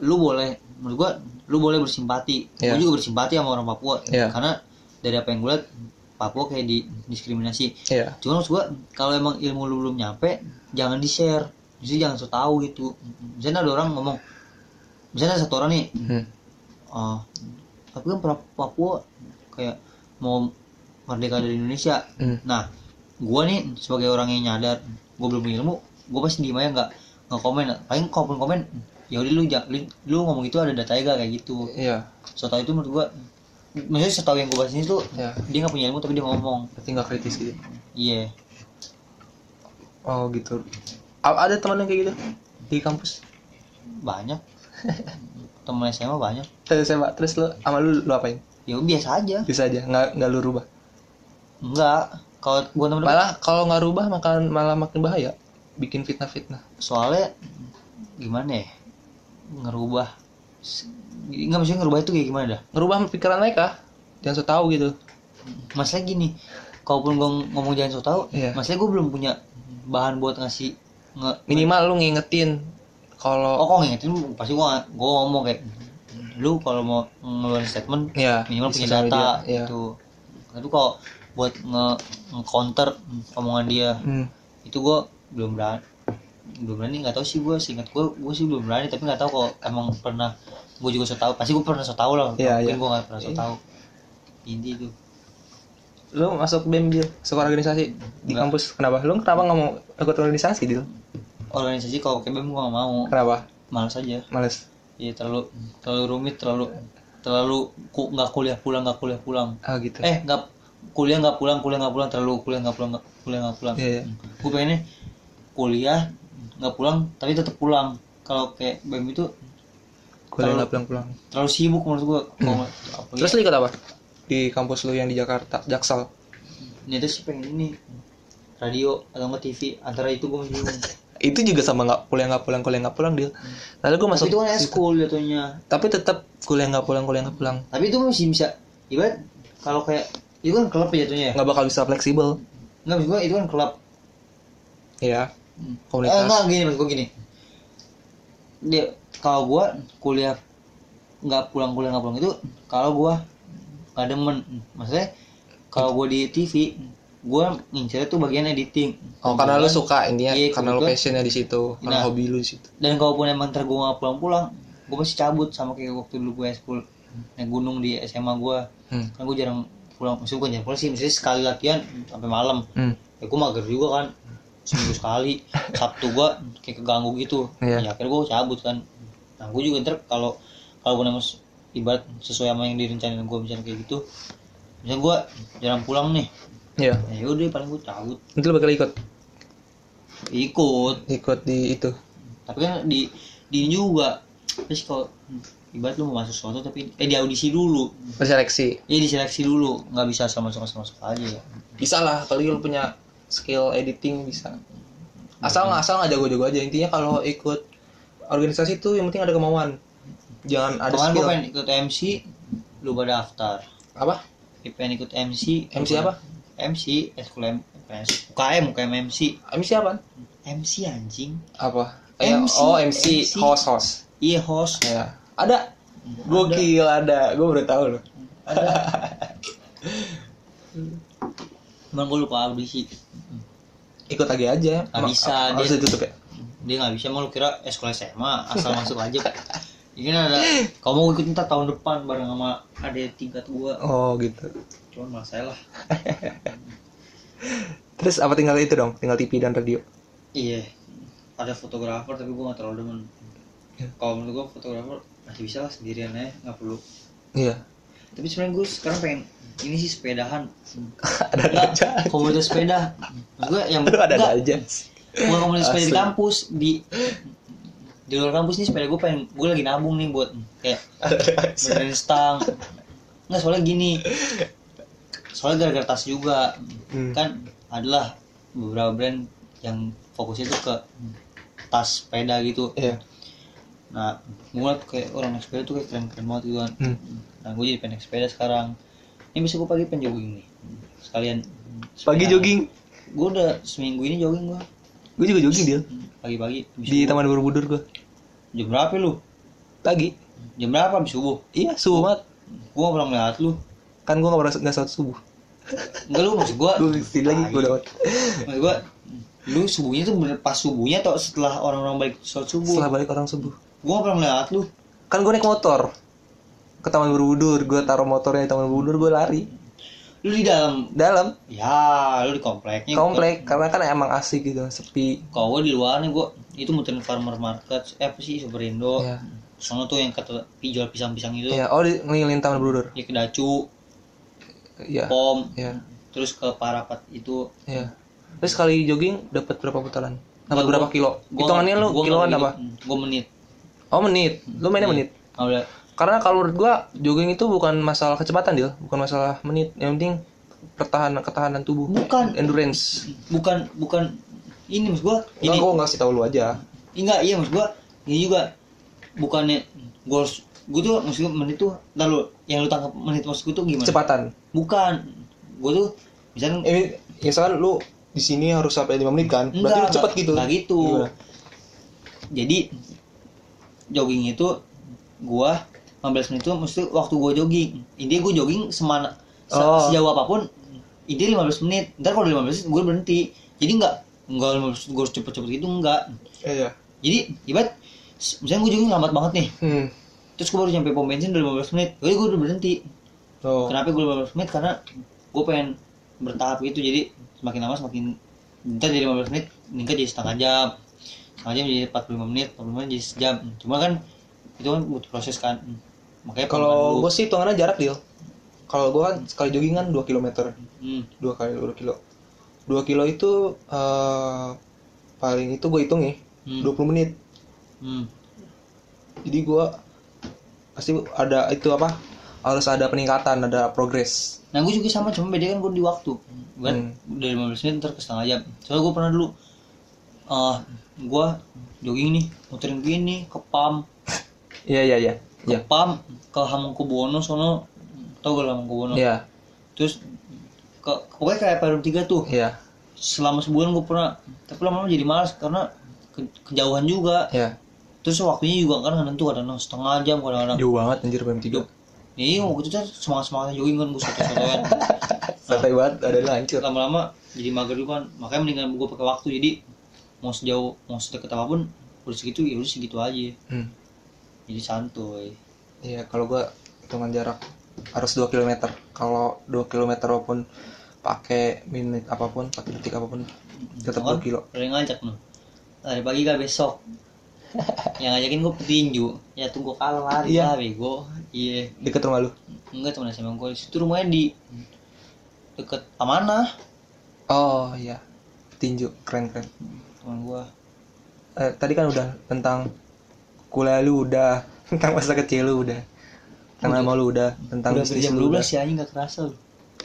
S2: lu boleh menurut gua lu boleh bersimpati
S1: Iya.
S2: gua juga bersimpati sama orang Papua
S1: Iya.
S2: karena dari apa yang gue lihat Papua kayak didiskriminasi
S1: Iya.
S2: cuman maksud gue kalau emang ilmu lu belum nyampe jangan di share justru jangan so tau gitu misalnya ada orang ngomong misalnya ada satu orang nih
S1: Hmm.
S2: oh tapi kan pra- Papua kayak mau merdeka dari Indonesia
S1: Hmm.
S2: nah gue nih sebagai orang yang nyadar gue belum punya ilmu gue pasti diem aja nggak nggak komen paling kalaupun komen ya udah lu, ja- lu lu ngomong itu ada datanya gak kayak gitu
S1: Iya.
S2: so tau itu menurut gue maksudnya setahu yang gue bahas ini tuh
S1: Ya.
S2: dia nggak punya ilmu tapi dia ngomong
S1: Berarti nggak kritis gitu.
S2: iya
S1: Oh gitu. A- ada teman yang kayak gitu di kampus.
S2: banyak temen SMA banyak
S1: Terus saya terus lu sama lu lu apain?
S2: ya biasa aja
S1: Bisa aja, nggak nggak lu rubah.
S2: enggak kalau gue temen
S1: Malah kalau nggak rubah makan malah makin bahaya. Bikin fitnah-fitnah.
S2: soalnya gimana ya ngerubah s- nggak maksudnya ngerubah itu kayak gimana dah
S1: Ngerubah pikiran mereka. Jangan so tau gitu.
S2: masalah gini kalaupun gue ngomong jangan so tau
S1: Iya.
S2: masalah gue belum punya bahan buat ngasih nge
S1: Minimal lu ngingetin
S2: oh
S1: kalau
S2: kok ngingetin pasti gue gue ngomong kayak lu kalau mau ngeluarin statement
S1: ya
S2: minimal
S1: di
S2: punya
S1: sosial
S2: data
S1: media, ya.
S2: gitu tapi kalau buat nge, counter omongan dia
S1: Hmm.
S2: itu gue belum berani belum berani nggak tahu sih gue singkat gue gue sih belum berani tapi nggak tahu kok emang pernah gue juga so tau pasti gue pernah so tau lah
S1: Iya,
S2: mungkin
S1: iya.
S2: gue nggak pernah so
S1: Iya.
S2: tau inti itu
S1: Lu masuk BEM Dil, sekolah organisasi di
S2: Nggak.
S1: kampus. Kenapa? Lu kenapa nggak mau ikut organisasi Dil?
S2: organisasi kalau kayak gue nggak mau
S1: Kenapa?
S2: malas aja
S1: Males.
S2: ya terlalu terlalu rumit terlalu terlalu ku- nggak kuliah pulang nggak kuliah pulang
S1: Ah gitu.
S2: eh nggak kuliah nggak pulang kuliah nggak pulang terlalu kuliah nggak pulang nggak- kuliah nggak pulang
S1: Iya, iya.
S2: gue pengennya kuliah nggak pulang tapi tetap pulang kalau kayak BEM itu
S1: kuliah
S2: kalau-
S1: nggak pulang-pulang.
S2: terlalu sibuk menurut gue
S1: Terus lu ikut apa? Di kampus lu yang di Jakarta, Jaksel.
S2: Ini tuh sih pengen ini radio atau nggak TV antara itu gue masih bingung.
S1: Itu juga sama nggak kuliah nggak pulang, kuliah nggak pulang Dil. Lalu gue
S2: Hmm. Tapi
S1: masuk
S2: itu kan school jatuhnya.
S1: tapi tetap kuliah nggak pulang, kuliah nggak pulang.
S2: Tapi itu masih bisa. Ibarat kalau kayak itu kan klub ya jatuhnya. ya?
S1: Nggak bakal bisa fleksibel.
S2: Nggak maksud gue itu kan klub.
S1: Ya,
S2: Eh, nggak
S1: komunitas.
S2: gini maksud gue gini. Dia kalau gue kuliah nggak pulang kuliah nggak pulang itu kalau gue nggak demen maksudnya kalau gue di TV gue ngincer tuh bagian editing
S1: oh, karena lu suka intinya,
S2: Iya,
S1: karena lu
S2: kebetulan.
S1: passionnya di situ, karena
S2: Nah.
S1: hobi lu di situ.
S2: dan kalaupun emang ntar gue nggak pulang-pulang gue masih cabut sama kayak waktu dulu gue school naik gunung di SMA gue
S1: Hmm.
S2: kan gue jarang pulang maksudnya bukan jarang pulang sih misalnya sekali latihan sampai malam
S1: Hmm.
S2: ya gue mager juga kan seminggu sekali Sabtu gue kayak keganggu gitu
S1: Iya.
S2: ya akhirnya gue cabut kan nah gue juga ntar kalau kalau gue emang se- ibarat sesuai sama yang direncanain gue misalnya kayak gitu misalnya gue jarang pulang nih
S1: Iya.
S2: ya udah paling gue cabut
S1: Nanti lu bakal ikut
S2: ikut
S1: ikut di itu.
S2: tapi kan di di ini juga terus kalau hmm, ibarat lu mau masuk suatu tapi eh di audisi dulu
S1: Berseleksi.
S2: ya diseleksi dulu nggak bisa sama sama sama sama aja ya
S1: Bisa lah kalau lu punya skill editing bisa. Asal nggak asal nggak jago-jago aja intinya kalau ikut organisasi itu yang penting ada kemauan. Jangan ada
S2: kemarin
S1: skill.
S2: gue pengen ikut MC lu pada daftar
S1: Apa?
S2: gue pengen ikut MC
S1: MC apa?
S2: MC eskul M PS UKM UKM MC
S1: MC apa?
S2: MC anjing
S1: Apa? Eh,
S2: MC.
S1: oh MC,
S2: MC.
S1: host host.
S2: iya host
S1: Ya. Ada. Gokil ada. Gue baru tahu loh.
S2: cuman gue lupa audisi
S1: Ikut lagi aja.
S2: Nggak
S1: Ma-
S2: bisa,
S1: a- Harus
S2: dia-
S1: ditutup ya.
S2: dia nggak bisa mau lu kira eh, eskul SMA asal masuk aja ini ada kalau mau ikut ntar tahun depan bareng sama ada tingkat gua
S1: Oh gitu.
S2: cuman masalah
S1: Terus apa tinggal itu dong? Tinggal TV dan radio.
S2: Iya, ada fotografer tapi gue gak terlalu demen.
S1: Ya.
S2: Kalau menurut gue fotografer masih bisa lah sendirian aja, nggak perlu.
S1: Iya.
S2: Tapi sebenarnya gue sekarang pengen ini sih sepedahan.
S1: ada ada
S2: Enggak,
S1: aja.
S2: komunitas sepeda. Maksud gue yang
S1: Lu ada ada
S2: enggak,
S1: aja.
S2: bukan komunitas sepeda di
S1: Asli.
S2: kampus di di luar kampus nih sepeda gue pengen gue lagi nabung nih buat kayak benerin stang. Nggak soalnya gini, soalnya gara-gara tas juga
S1: Hmm.
S2: kan adalah beberapa brand yang fokusnya tuh ke tas sepeda gitu
S1: Iya.
S2: Nah, gue ngeliat kayak orang naik sepeda tuh kayak keren-keren banget gitu kan.
S1: Hmm.
S2: Nah, gue jadi pengen naik sepeda sekarang. Ini bisa gue pagi pengen jogging nih. Sekalian.
S1: Pagi
S2: Ya.
S1: jogging.
S2: Gue udah seminggu ini jogging gue.
S1: Gue juga jogging dia.
S2: Pagi-pagi. habis
S1: Di
S2: subuh.
S1: Taman Borobudur gue.
S2: Jam berapa lu?
S1: Pagi.
S2: Jam berapa habis subuh?
S1: Iya, subuh banget.
S2: Gue gak pernah ngeliat lu.
S1: kan gue nggak pernah nggak satu subuh
S2: Enggak lu maksud gua
S1: gue sedih lagi gue dapat
S2: maksud gua lu subuhnya tuh bener pas subuhnya atau setelah orang-orang balik sholat subuh
S1: setelah balik orang subuh
S2: gua gak pernah melihat lu
S1: kan gue naik motor ke taman berbudur gue taruh motornya di taman berbudur gue lari
S2: lu di dalam
S1: dalam
S2: ya lu di kompleknya
S1: komplek karena kan emang asik gitu sepi
S2: kalau gua di luar nih gua itu muterin farmer market eh apa sih superindo
S1: ya,
S2: sono tuh yang kata jual pisang-pisang itu
S1: ya. oh di, ngelilingin taman berbudur
S2: ya ke dacu
S1: ya
S2: pom
S1: ya
S2: terus ke parapat itu
S1: ya terus sekali jogging dapat berapa putaran dapat
S2: Gua-
S1: berapa kilo hitungannya lu kiloan apa
S2: gue menit Iya.
S1: oh menit lu mainnya menit
S2: Kalau udah
S1: karena kalau menurut gua jogging itu bukan masalah kecepatan deal bukan masalah menit yang penting pertahanan ketahanan tubuh
S2: Bukan.
S1: endurance
S2: bukan bukan ini mas gue
S1: ini
S2: ini
S1: gua ngasih tahu lu aja
S2: enggak iya mas gue ini juga bukannya gue gue tuh maksud gue menit tuh lalu yang lu tangkap menit maksud gue tuh gimana
S1: kecepatan
S2: bukan gue tuh misalnya
S1: ini ya soal lu di sini harus sampai 5 menit kan berarti lu
S2: enggak,
S1: cepet
S2: enggak-
S1: gitu
S2: enggak gitu
S1: Gimana?
S2: jadi jogging itu gue 15 menit itu mesti waktu gue jogging intinya gue jogging semana se-
S1: Oh.
S2: sejauh apapun intinya 15 menit ntar kalau udah 15 menit gue berhenti jadi enggak enggak gue harus cepet-cepet gitu enggak
S1: iya iya.
S2: jadi ibarat s- misalnya gue jogging lambat banget nih
S1: hmm
S2: terus gue baru nyampe pom bensin udah 15 menit jadi gue udah berhenti
S1: oh
S2: kenapa gue 15 menit karena gue pengen bertahap itu jadi semakin lama semakin ntar jadi 15 menit meningkat jadi setengah jam setengah jam jadi 45 menit 45 menit jadi sejam cuma kan itu kan butuh proses kan makanya
S1: kalau
S2: pelan-pelan
S1: gua sih hitungannya jarak deal kalau gua kan sekali jogging kan 2 km
S2: dulu. hmm.
S1: dua kali dua kilo dua kilo itu eh, paling itu gue hitung ya
S2: Hmm.
S1: 20 menit
S2: hmm.
S1: jadi gue pasti ada itu apa harus ada peningkatan ada progres
S2: nah gue juga sama cuma beda kan gue di waktu kan
S1: Hmm.
S2: dari 15 menit ntar ke setengah jam soalnya gue pernah dulu eh gue jogging nih muterin gini ke pam
S1: iya iya iya
S2: ke pam ke Hamengkubuwono sono tau gak lu Hamengkubuwono
S1: iya
S2: terus ke pokoknya kayak Perum 3 tuh
S1: iya
S2: selama sebulan gue pernah tapi lama-lama jadi malas karena ke- kejauhan juga
S1: iya
S2: terus waktunya juga kan nggak tentu kadang-kadang setengah jam kadang-kadang
S1: jauh banget anjir pengen tidur
S2: ini waktu itu semangat semangatnya jogging kan gue satu sotoan
S1: santai banget ada lancur
S2: lama-lama jadi mager juga kan makanya mendingan gue pakai waktu jadi mau sejauh mau sedekat apapun udah segitu ya udah segitu aja
S1: hmm.
S2: jadi santuy
S1: iya kalau gue hitungan jarak harus 2 km kalau 2 km walaupun pakai menit apapun pakai detik apapun tetap
S2: Kan
S1: 2 kilo
S2: ada yang ngajak no lari pagi gak besok yang ngajakin gue petinju ya tunggu kalah lari
S1: Iya.
S2: lah bego iya
S1: deket rumah lu
S2: enggak teman SMA gue itu rumahnya di deket amanah
S1: oh iya tinju keren keren
S2: teman gue
S1: Eh, tadi kan udah tentang kuliah lu udah tentang masa kecil lu udah tentang nama lu udah tentang
S2: udah dari
S1: bisnis
S2: jam
S1: lu
S2: 12
S1: udah
S2: ya anjing gak kerasa lu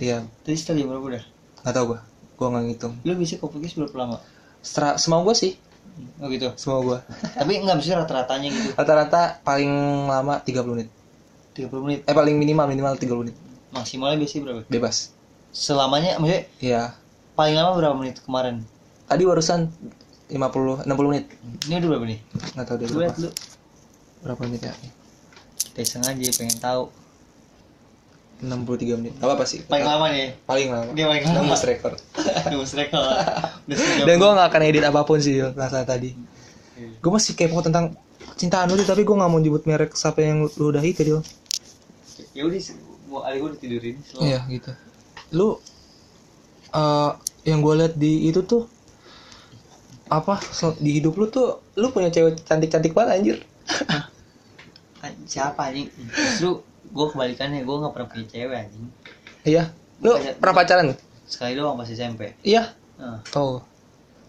S1: iya
S2: tadi setelah jam berapa udah
S1: nggak tahu gua gua nggak ngitung
S2: lu bisa kopikis berapa lama
S1: Sera, semau gua sih
S2: oh gitu
S1: semau gua
S2: tapi enggak mesti rata-ratanya gitu
S1: rata-rata paling lama 30 menit
S2: 30 menit
S1: eh paling minimal minimal 30 menit
S2: maksimalnya biasanya berapa
S1: bebas
S2: selamanya maksudnya
S1: iya
S2: paling lama berapa menit kemarin
S1: tadi barusan 50 60 menit
S2: ini udah berapa nih
S1: nggak tahu deh
S2: Lu
S1: berapa
S2: lihat lu
S1: berapa menit ya
S2: kita iseng aja pengen tahu
S1: 63 menit apa apa sih
S2: paling lama nih
S1: paling lama
S2: Dia paling lama.
S1: Nembus rekor
S2: Nembus rekor. Udah sejam.
S1: dan gue nggak akan edit apapun sih rasa tadi gue masih kepo tentang cintaan lu Dil, tapi gue nggak mau nyebut merek siapa yang lu udah itu Dil.
S2: Ya udah sih, mau adik gue ditidurin. selalu.
S1: iya gitu lu eh yang gue lihat di itu tuh apa so- di hidup lu tuh lu punya cewek cantik cantik banget anjir
S2: An- Kan, Siapa anjing? Justru gue kebalikannya, gue gak pernah punya cewek anjing.
S1: iya lu
S2: Banyak-
S1: pernah pacaran
S2: Sekali doang pas SMP.
S1: iya
S2: Nah,
S1: oh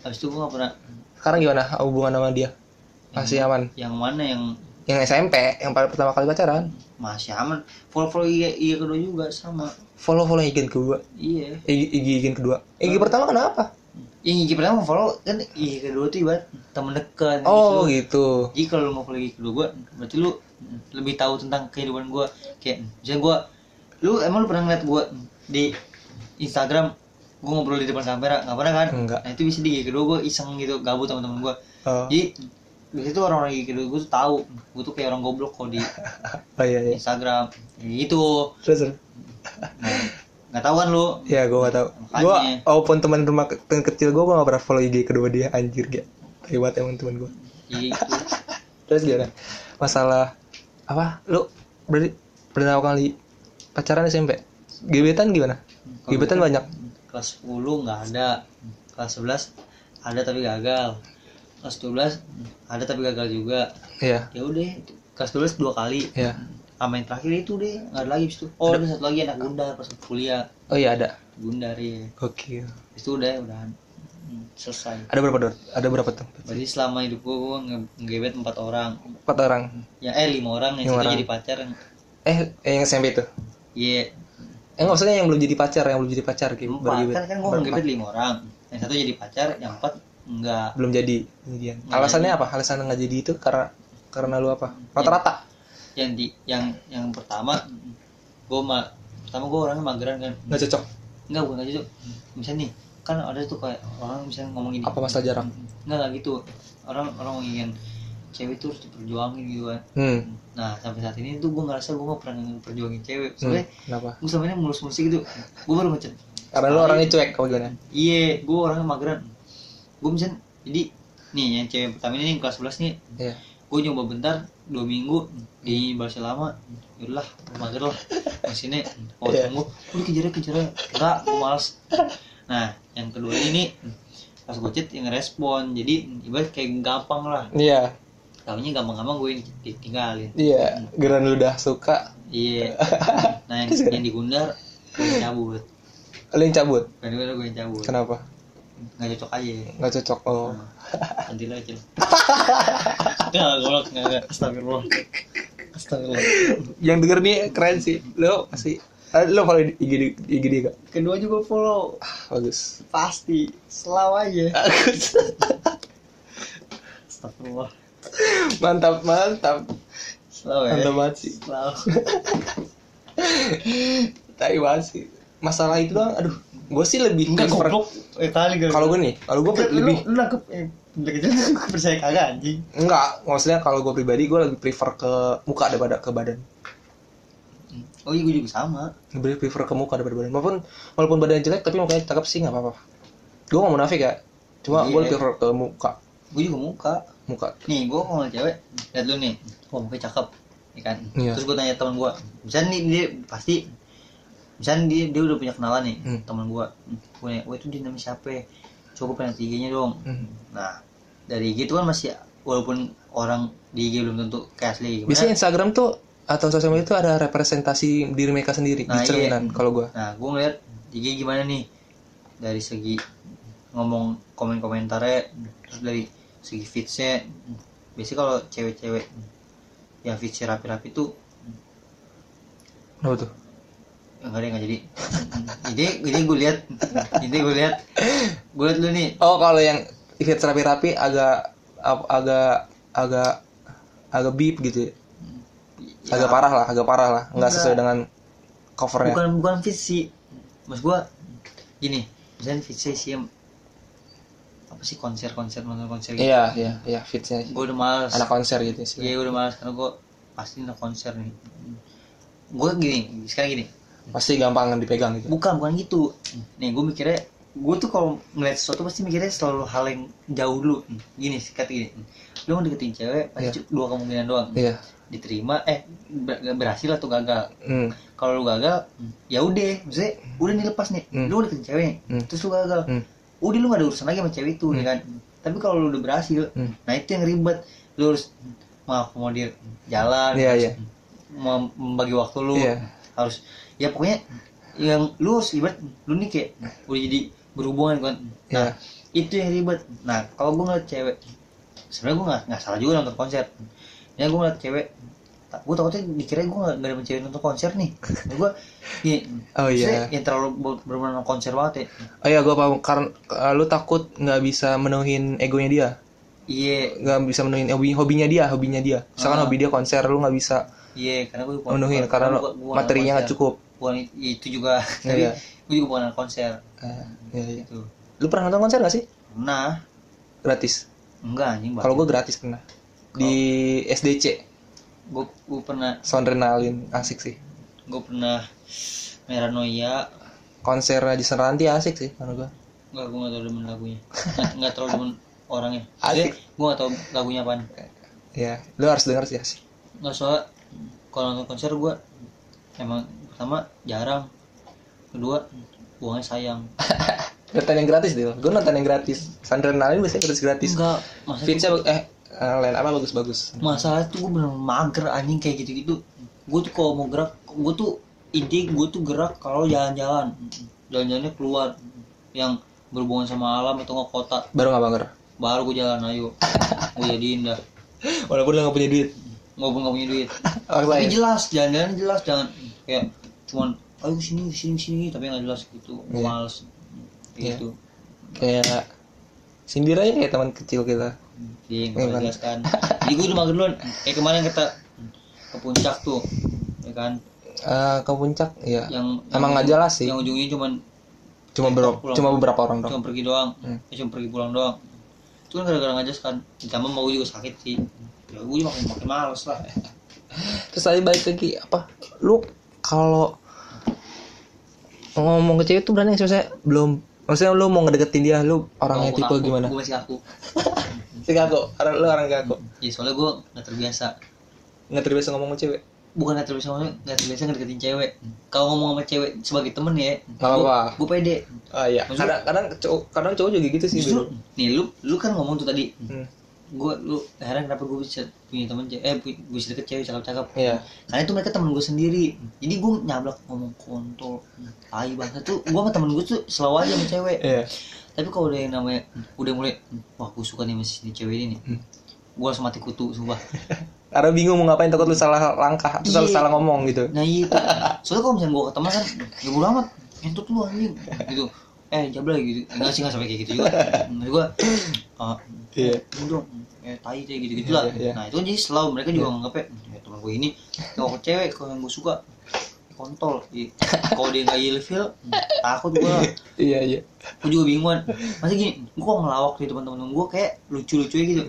S2: habis itu gue gak pernah
S1: sekarang gimana hubungan sama dia masih aman
S2: yang mana yang
S1: yang SMP yang paling pertama kali pacaran
S2: masih aman. Follow follow iya iya kedua juga sama.
S1: follow follow IG kedua
S2: Iya.
S1: IG, IG kedua IG pertama kenapa
S2: Yang gigi pertama follow kan iya kedua tuh ibarat temen dekat.
S1: oh
S2: gitu.
S1: gitu
S2: Jadi kalau lu mau follow gigi kedua gue, berarti lu lebih tahu tentang kehidupan gue. Kayak misalnya gue, lu emang lu pernah ngeliat gue di Instagram gue ngobrol di depan kamera nggak pernah kan?
S1: Enggak.
S2: Nah itu bisa di gigi kedua gue iseng gitu gabut sama temen gue.
S1: Oh.
S2: Jadi biasanya tuh orang-orang gigi kedua gue tuh tahu gue tuh kayak orang goblok kok di
S1: Oh iya iya.
S2: Instagram Kayak gitu.
S1: Terus terus.
S2: nggak tahu kan lu
S1: Ya gue gak tau
S2: Makanya.
S1: Gue walaupun teman rumah ke- teman kecil gue Gue gak pernah follow IG kedua dia Anjir gak Hebat emang teman gue
S2: Iya, itu.
S1: Terus gimana? Masalah Apa? Lu berarti pertama kali pacaran SMP? Gebetan gimana? Gebetan banyak
S2: kelas 10 nggak ada kelas 11 ada tapi gagal kelas 12 ada tapi gagal juga
S1: Iya
S2: ya udah kelas 12 dua kali
S1: Iya
S2: sama yang terakhir itu deh nggak ada lagi abis itu oh ada satu lagi anak gundar pas waktu kuliah
S1: Oh iya ada
S2: gundar ya
S1: Oke
S2: Abis itu udah udahan Hmm, selesai
S1: Ada berapa dor? Ada berapa tuh?
S2: berarti selama hidup gua gua nge- ngegebet empat orang
S1: Empat orang
S2: ya eh lima orang yang
S1: Lima
S2: satu
S1: orang.
S2: jadi pacar yang
S1: Eh eh, yang SMP itu?
S2: iya
S1: Eh nggak, maksudnya yang belum jadi pacar Yang belum jadi pacar gitu
S2: empat kan kan gua
S1: Berempat.
S2: ngegebet lima orang yang satu jadi pacar yang empat enggak
S1: belum jadi kemudian alasannya apa alasan nggak jadi itu karena karena lu apa rata-rata
S2: yang di yang yang pertama gue ma pertama gue orangnya mageran kan
S1: nggak cocok
S2: enggak bukan aja tuh misalnya nih kan ada tuh kayak orang misalnya ngomong ini
S1: apa masalah jarak
S2: enggak lah gitu orang orang ingin cewek tuh harus diperjuangin gitu kan
S1: hmm,
S2: nah sampai saat ini tuh gue ngerasa gue gak pernah ngeperjuangin
S1: hmm.
S2: cewek soalnya
S1: kenapa
S2: gue selama ini mulus-mulus gitu gue baru macam
S1: karena lu orangnya cuek apa gimana
S2: iya gue orangnya mageran gue misalnya jadi nih yang cewek pertama ini yang kelas 11 nih
S1: Iya.
S2: gue nyoba bentar dua minggu di bahasa lama yaudahlah mager lah mesinnya mau
S1: Iya.
S2: tunggu udah kejar aja, kejar aja. enggak gue malas nah yang kedua ini pas gue chat yang respon jadi ibarat kayak gampang lah
S1: iya
S2: tahunya gampang-gampang gue ditinggalin
S1: iya geran lu udah suka
S2: iya nah yang, yang digundar gue yang cabut
S1: lu yang cabut
S2: yang digundar gue yang cabut
S1: kenapa
S2: nggak cocok aja
S1: nggak cocok oh
S2: nanti lah cil nggak golok nggak nggak astagfirullah astagfirullah
S1: yang denger nih keren sih lu masih eh, lu follow IG di- IG dia gak
S2: kedua juga follow
S1: ah, bagus
S2: pasti selaw aja astagfirullah
S1: mantap mantap
S2: selaw ya
S1: mantap banget sih
S2: selaw
S1: tai banget sih masalah itu doang aduh gue sih lebih
S2: enggak
S1: prefer-
S2: goblok eh kali gak
S1: kalau gue nih kalau gue
S2: Kan
S1: lebih
S2: lu lu nangkep eh, udah kecil nangkep percaya kagak anjing
S1: Enggak, maksudnya kalau gue pribadi gue lebih prefer ke muka daripada ke badan.
S2: oh iya gue juga sama
S1: Lebih prefer ke muka daripada badan. Walaupun walaupun badan jelek tapi mukanya cakep sih nggak apa-apa. Gue nggak munafik ya. Cuma gue
S2: Iya.
S1: lebih prefer ke muka,
S2: gue juga muka
S1: muka.
S2: nih gue kalau cewek lihat lu nih oh mukanya cakep ya kan
S1: Iya.
S2: terus gue tanya teman gue misalnya nih dia pasti misalnya dia, dia udah punya kenalan nih
S1: Hmm.
S2: teman gue gue nanya wah itu dia namanya siapa ya? coba pengen IG-nya dong
S1: Hmm.
S2: nah dari IG itu kan masih walaupun orang di IG belum tentu kayak asli gimana,
S1: Biasanya Instagram tuh atau sosial media itu ada representasi diri mereka sendiri
S2: Nah,
S1: di cerminan kalau gue.
S2: nah gue ngeliat IG gimana nih dari segi ngomong komen-komentarnya terus dari segi fitsnya biasanya kalau cewek-cewek yang fitsnya rapi-rapi tuh
S1: Kenapa tuh?
S2: enggak deh enggak jadi jadi jadi gue lihat jadi gue lihat gue lihat lu nih
S1: Oh kalau yang fit rapi-rapi agak ag- agak agak agak beep gitu. ya.
S2: Ya,
S1: Agak ya. parah lah, agak parah lah. Nggak
S2: Enggak.
S1: sesuai dengan covernya.
S2: Iya. bukan bukan fit sih mas gue gini misalnya fit sih sih em- apa sih konser konser nonton konser gitu.
S1: Iya, iya, iya fitnya.
S2: gue udah males
S1: Anak konser gitu sih.
S2: iya gue udah males karena gue pasti nonton konser nih gue gini sekarang gini
S1: pasti gampang dipegang gitu.
S2: bukan bukan gitu nih gue mikirnya gue tuh kalau ngeliat sesuatu pasti mikirnya selalu hal yang jauh dulu gini sikat gini lu mau deketin cewek pasti
S1: Iya.
S2: cu- dua kemungkinan doang
S1: Iya.
S2: diterima eh ber- berhasil atau gagal
S1: Hmm.
S2: kalau lu gagal ya udah maksudnya udah nih lepas nih
S1: Hmm.
S2: lu udah deketin cewek
S1: Hmm.
S2: terus lu gagal
S1: Hmm.
S2: udah lu gak ada urusan lagi sama cewek itu ya kan tapi kalau lu udah berhasil
S1: Hmm.
S2: nah itu yang ribet lu harus maaf mau dia jalan
S1: Iya,
S2: harus
S1: iya.
S2: mem- membagi waktu lu
S1: Iya.
S2: harus ya pokoknya yang lu harus ibarat lu nih kayak udah jadi berhubungan kan nah
S1: Iya.
S2: itu yang ribet nah kalau gue ngeliat cewek sebenarnya gue nggak nggak salah juga nonton konser ya gue ngeliat cewek gue takutnya dikira gue nggak nggak ada cewek nonton konser nih gue ya,
S1: Oh, iya.
S2: maksudnya yang terlalu ber- bener-bener nonton konser banget ya
S1: Oh iya gue paham karena eh, lu takut nggak bisa menuhin egonya dia,
S2: iya
S1: nggak bisa menuhin hobi hobinya dia, hobinya dia. Misalkan
S2: Ah.
S1: hobi dia konser, lu nggak bisa
S2: iya karena gue bukan-
S1: menuhin
S2: bukan-
S1: karena lu
S2: bukan- bukan anak
S1: materinya nggak
S2: konser.
S1: cukup.
S2: bukan itu juga tapi
S1: Iya.
S2: gue juga bukan anak konser
S1: Eh, iya, iya.
S2: gitu
S1: Lu pernah nonton konser gak sih?
S2: nah
S1: Gratis.
S2: enggak anjing
S1: Kalau gue gratis pernah di SDC
S2: gue gue pernah
S1: Soundrenalin asik sih.
S2: gue pernah Meranoia
S1: konser Jason Ranti asik sih menurut gua
S2: Enggak, gue gak tau demen lagunya Nggak- Nggak terlalu demen orangnya
S1: Asik.
S2: Jadi, gue gak tau lagunya apaan
S1: ya lu harus denger sih asik
S2: Nggak soal Kalau nonton konser gue Emang pertama jarang Kedua uangnya sayang
S1: nonton yang gratis deh gua nonton yang gratis Sandrenalin biasanya gratis gratis
S2: Enggak Masa
S1: Vince eh eh, line apa bagus bagus
S2: masalah tuh gue bener mager anjing kayak gitu-gitu gue tuh kalau mau gerak gue tuh inti gue tuh gerak kalau jalan-jalan jalan-jalannya keluar yang berhubungan sama alam atau nggak kota
S1: baru nggak banger
S2: baru gue jalan ayo gue jadiin dah
S1: walaupun lu nggak punya duit
S2: ngobrol nggak punya duit
S1: orang
S2: tapi
S1: lain
S2: jelas jalan-jalan jelas jangan kayak cuman ayo sini sini sini tapi nggak jelas gitu gue
S1: Iya.
S2: males
S1: Iya.
S2: gitu
S1: kayak sindir aja kayak teman kecil kita Iya,
S2: Iya, nggak
S1: kan?
S2: jelas kan. Jadi gue udah mager duluan. Kayak kemarin kita ke puncak tuh, ya kan?
S1: Eh ke puncak ya
S2: yang
S1: Emang
S2: yang
S1: nggak
S2: ujung-
S1: jelas sih.
S2: yang ujungnya cuman
S1: cuma ber-
S2: pulang.
S1: eh, cuma beberapa orang doang
S2: cuma pergi doang
S1: Hmm.
S2: eh, cuma pergi pulang doang itu kan gara-gara nggak jelas kan ditambah mau juga sakit sih ya gue juga makin makin males lah
S1: terus tadi balik lagi apa lu kalau ngomong ke cewek tuh berani nggak sih? maksudnya belum maksudnya lu mau ngedeketin dia lu orangnya
S2: Walaupun
S1: tipe
S2: aku-
S1: gimana
S2: gue masih aku
S1: si kaku orang lu orang kaku
S2: ya soalnya gue nggak terbiasa
S1: nggak terbiasa ngomong ke cewek
S2: bukan nggak terbiasa ngomong nggak terbiasa ngedeketin cewek kalau ngomong sama cewek sebagai temen ya
S1: Nggak apa-apa.
S2: gue pede
S1: ah iya
S2: Maksud-
S1: kadang kadang cowok kadang cowok juga gitu sih bro
S2: justru nih lu lu kan ngomong tuh tadi
S1: Hmm,
S2: gue lu heran kenapa gue bisa punya temen cewek eh pu- gue bisa deket cewek cakep-cakep
S1: iya
S2: karena itu mereka temen gue sendiri jadi gue nyablak ngomong kontol tai banget tuh gue sama temen gue tuh selalu aja sama cewek
S1: iya
S2: tapi kalau udah yang namanya udah mulai wah gue suka nih sama si cewek ini nih gue langsung mati kutu sumpah
S1: karena bingung mau ngapain takut lu salah langkah atau salah
S2: Iya.
S1: salah ngomong gitu
S2: nah iya tuh. soalnya kalau misalnya gue ketemu kan ya bodo amat ngentut lu anjing gitu eh jabla gitu enggak sih nggak sampai kayak gitu juga menurut gue ah
S1: Iya.
S2: ini dong eh tai tai gitu gitu
S1: Iya,
S2: lah
S1: iya, iya.
S2: nah itu kan jadi selalu mereka juga nganggapnya ya teman gue ini kalau cewek kalau yang gue suka kontol Iya. kalau dia nggak ilfil takut gue
S1: iya iya
S2: gue juga bingungan masih gini gue kok ngelawak di teman teman gue kayak lucu lucu gitu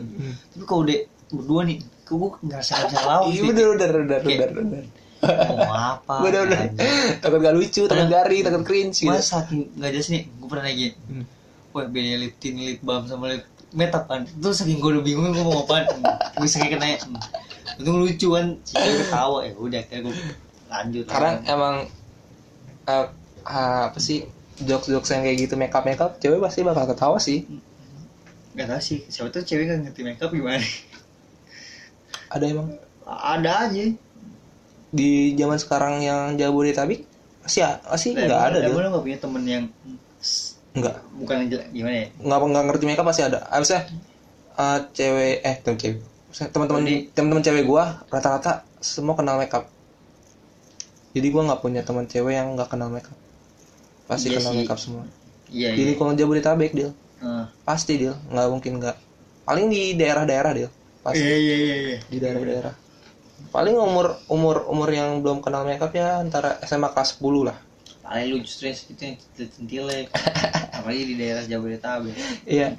S2: tapi kalau udah berdua nih kok gue nggak rasa nggak bisa ngelawak
S1: iya
S2: sih
S1: udah udah udah
S2: Oh, gitu. Oke. Ah.
S1: udah udah
S2: mau apa
S1: udah udah
S2: anjing.
S1: takut gak lucu takut
S2: Padahal-
S1: garing takut cringe gitu
S2: Mas saking nggak jelas nih gue pernah nanya gini
S1: Hmm.
S2: wah beda lip tint lip balm sama lip meta pan terus saking gue udah bingung gue mau apaan gue saking kena ya, untung lucu kan si cewek ketawa ya udah akhirnya gue lanjut
S1: sekarang emang eh, apa sih jokes jokes yang kayak gitu makeup makeup cewek pasti bakal ketawa sih
S2: nggak tahu sih siapa tuh cewek nggak ngerti makeup gimana
S1: ada emang
S2: ada aja
S1: di zaman sekarang yang jabodetabek masih
S2: Iya,
S1: masih nggak ada
S2: Emang
S1: deh
S2: lu nggak punya temen yang
S1: nggak
S2: bukan yang jelek gimana ya
S1: nggak nggak ngerti makeup pasti ada Ah, maksudnya eh, cewek eh temen cewek Maksudnya teman-teman
S2: Jadi-
S1: teman-teman cewek gua rata-rata semua kenal makeup jadi gua nggak punya teman cewek yang nggak kenal makeup pasti
S2: Iya
S1: kenal
S2: sih.
S1: makeup semua
S2: iya
S1: jadi
S2: iya
S1: kalau jabodetabek deal
S2: Ah.
S1: pasti deal nggak mungkin nggak paling di daerah-daerah deal pasti
S2: iya iya iya iya
S1: di daerah-daerah paling umur umur umur yang belum kenal makeup ya antara SMA kelas 10 lah
S2: paling lu justru yang itu yang centil-centilnya apalagi di daerah Jabodetabek
S1: iya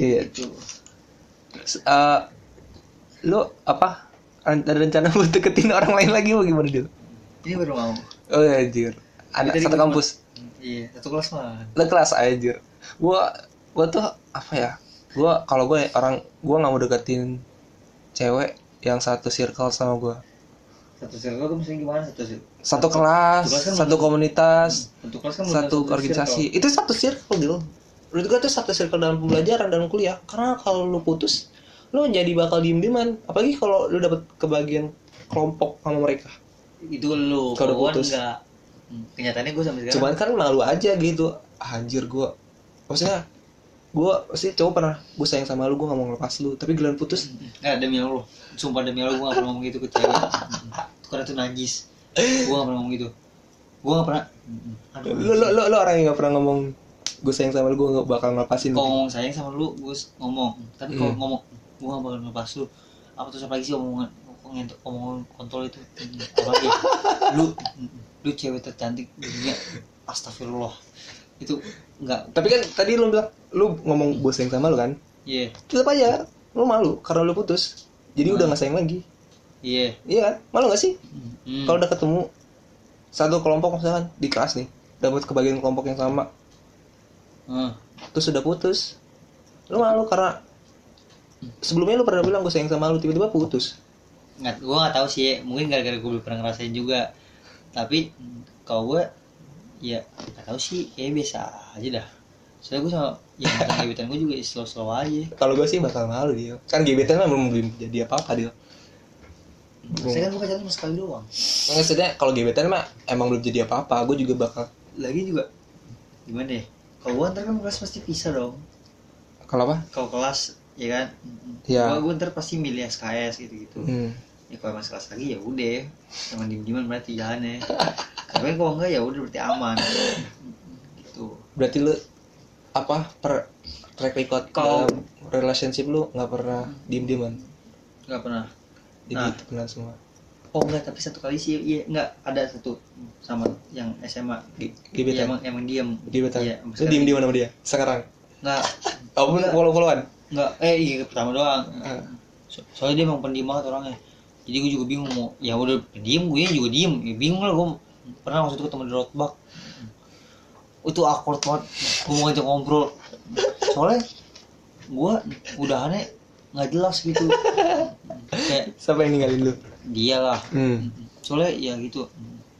S1: iya
S2: itu
S1: S- eh, lu apa ada rencana buat deketin orang lain lagi mau gimana dulu
S2: ini baru mau
S1: oh ya anjir anak
S2: Jadi
S1: satu
S2: gua-
S1: kampus
S2: iya satu kelas mah
S1: lu kelas anjir gua gua tuh apa ya gua kalau gue orang gua nggak mau deketin cewek yang satu circle sama gua
S2: satu circle tuh misalnya gimana satu circle
S1: satu kelas
S2: Satu kelas kan
S1: satu komunitas
S2: satu kelas kan bukan
S1: satu organisasi itu satu circle gitu menurut gue itu satu circle dalam pembelajaran dalam kuliah karena kalau lu putus lu jadi bakal diem dieman apalagi kalau lu dapet kebagian kelompok sama mereka
S2: circle. itu lu
S1: Kalau udah
S2: gua
S1: putus.
S2: enggak Hmm, kenyataannya gue sampai sekarang
S1: cuman kan malu aja gitu anjir gue maksudnya gue pasti cowok pernah gue sayang sama lu gue gak mau ngelepas lu tapi giliran putus
S2: eh demi Allah sumpah demi Allah gue gak pernah ngomong gitu ke cewek itu karena itu najis gue gak pernah ngomong gitu gue gak pernah Aduh,
S1: lu lu lu, lu orang yang gak pernah ngomong gue sayang sama lu gue gak bakal ngelepasin
S2: kalau
S1: lu
S2: ngomong sayang sama lu gue s- ngomong tapi kalau
S1: Hmm.
S2: ngomong gue gak bakal ngepas lu apa terus apa lagi sih omongan ngomong omongan kontol itu Hmm, apa lagi lu lu cewek tercantik di dunia astagfirullah itu nggak
S1: tapi kan tadi lu bilang lu ngomong gue sayang sama lu kan
S2: iya
S1: tetap aja lu malu karena lu putus jadi udah gak sayang lagi
S2: iya
S1: iya kan malu gak sih
S2: Hmm.
S1: kalau udah ketemu satu kelompok misalkan di kelas nih dapat kebagian kelompok yang sama
S2: Hmm.
S1: terus sudah putus lu malu karena sebelumnya lu pernah bilang gue sayang sama lu tiba-tiba putus
S2: nggak gue nggak tahu sih ya. mungkin gara-gara gue belum pernah ngerasain juga tapi mm, kalau gue ya nggak tahu sih kayak biasa aja dah soalnya gue sama yang mantan gebetan gue juga slow-slow aja
S1: kalau gue sih bakal malu dia kan gebetan mah belum belum jadi apa apa dia
S2: saya kan gue pacaran cuma sekali doang
S1: Ya, maksudnya kalau gebetan mah emang belum jadi apa apa gue juga bakal
S2: lagi juga gimana ya kalau gue ntar kan kelas pasti pisah dong
S1: kalau apa
S2: kalau kelas ya kan
S1: Iya.
S2: gue gue ntar pasti milih SKS gitu gitu
S1: hmm.
S2: ya kalau emang sekelas lagi ya udah teman diem dieman berarti jalannya tapi kalau enggak ya udah berarti aman gitu
S1: berarti lu apa per track record
S2: Kalau-
S1: dalam relationship lu nggak pernah diem dieman
S2: nggak pernah
S1: jadi
S2: Nah.
S1: temenan semua
S2: Oh enggak, tapi satu kali sih iya enggak ada satu sama yang SMA.
S1: Ge-
S2: Iya,
S1: gebetan
S2: emang emang diam.
S1: gebetan
S2: Iya,
S1: lu diem dieman sama dia sekarang
S2: Enggak,
S1: oh
S2: Enggak.
S1: follow followan
S2: enggak eh iya pertama doang.
S1: Ah.
S2: So- soalnya dia emang pendiam banget orangnya. Jadi gue juga bingung mau ya udah pendiam gue juga diem. Ya bingung lah gue pernah waktu itu ketemu di Rotbak. Itu awkward banget. Gue mau ngajak ngobrol. Soalnya gue udahannya nggak jelas gitu. Kayak
S1: siapa yang ninggalin lu
S2: dia lah
S1: hmm.
S2: soalnya ya gitu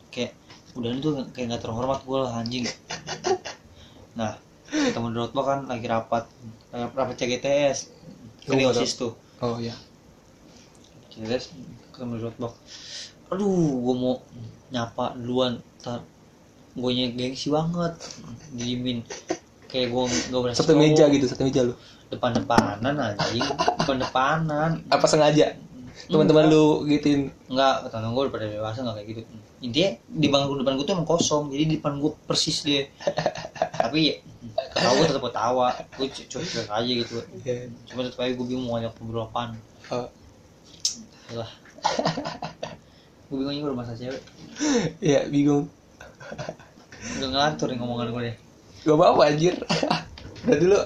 S2: kayak udah itu kayak nggak terhormat gue lah anjing nah temen Rotba kan lagi rapat rapat CGTS kan di
S1: Gua nggak
S2: osis tuh
S1: oh ya
S2: CGTS ketemu di Rotbak aduh gue mau nyapa duluan ntar gue gengsi banget diemin kayak gue nggak berasa
S1: satu
S2: cowok.
S1: meja gitu satu meja lu
S2: depan-depanan anjing depan-depanan
S1: apa sengaja teman-teman lu gituin
S2: Enggak, temen gue udah pada dewasa enggak kayak gitu. Intinya di bangku depan gue tuh emang kosong, jadi di depan gue persis dia. Tapi ya, ketawa gue tetap ketawa, gue cu- cuek-cuek aja gitu.
S1: Iya.
S2: Cuma tetap aja gue bingung mau ngajak ngobrol apaan.
S1: Oh,
S2: Yalah. gue bingungnya gue udah masa cewek.
S1: iya bingung
S2: Udah ngelantur nih ngomongan gue deh.
S1: gak apa apa anjir berarti lu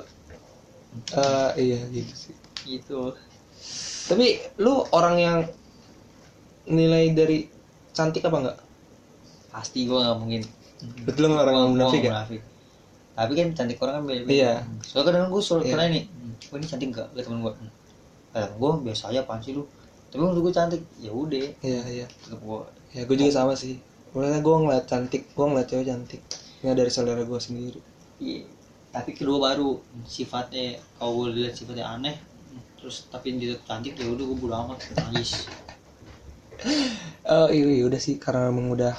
S1: eh iya gitu sih
S2: Gitu.
S1: tapi lu orang yang nilai dari cantik apa enggak
S2: Pasti gue nggak mungkin.
S1: betul lu orang yang
S2: Gua- gua
S1: munafik ya
S2: nggak munafik. Tapi kan cantik orang kan beda-beda.
S1: iya
S2: soalnya kadang gue selalu
S1: Iya.
S2: pernah nih gue "Hmm, ini cantik gak liat temen gue kadang gue biasa aja apaan sih lu tapi menurut gue cantik ya udah
S1: iya iya
S2: tetep gue
S1: ya gue juga sama sih Maksudnya gue ngeliat cantik gue ngeliat cewek cantik nggak dari saudara gue sendiri
S2: iya tapi kedua baru sifatnya kalau gue lihat sifatnya aneh terus tapi dia tetep cantik ya udah gue bodo amat nangis
S1: Eh iya, iya, udah sih karena emang udah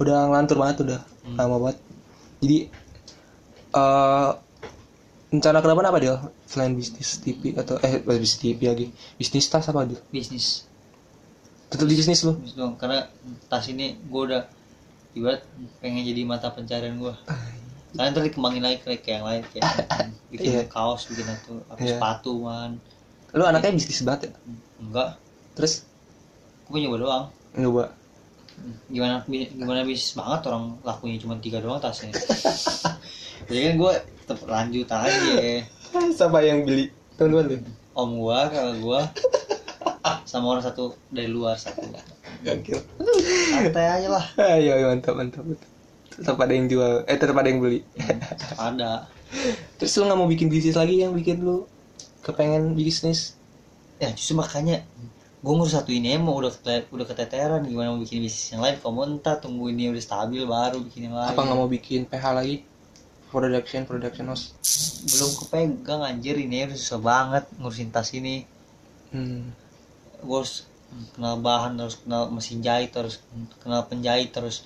S1: udah ngelantur banget udah
S2: Hmm.
S1: lama banget. Jadi eh rencana ke depan apa dia selain bisnis TV atau eh bisnis TV lagi bisnis tas apa dia
S2: bisnis
S1: tetap di bisnis lu
S2: bisnis doang karena tas ini gue udah ibarat pengen jadi mata pencarian gue karena ntar dikembangin lagi ke ke yang lain kayak bikin
S1: Iya.
S2: kaos bikin atau apa
S1: Iya.
S2: sepatu man
S1: lu anaknya bisnis banget ya
S2: enggak
S1: terus
S2: gue nyoba doang
S1: nyoba
S2: gimana bi- gimana bisnis banget orang lakunya cuma tiga doang tasnya jadi kan gue tetap lanjut aja
S1: siapa yang beli teman-teman lu
S2: om gue kakak gue sama orang satu dari luar satu
S1: gokil
S2: santai aja lah
S1: ayo ayo, Ah, iya, mantap mantap mantap. tetap ada yang jual eh tetap ada yang beli
S2: Tetep ada
S1: terus lu nggak mau bikin bisnis lagi yang bikin lu kepengen bisnis
S2: ya justru makanya gue ngurus satu ini emang udah kete- udah keteteran gimana mau bikin bisnis yang lain kalau entah tunggu ini udah stabil baru bikin yang lain
S1: apa nggak mau bikin PH lagi production production house
S2: belum kepegang anjir ini udah susah banget ngurusin tas ini
S1: Hmm.
S2: gue harus kenal bahan harus kenal mesin jahit harus kenal penjahit harus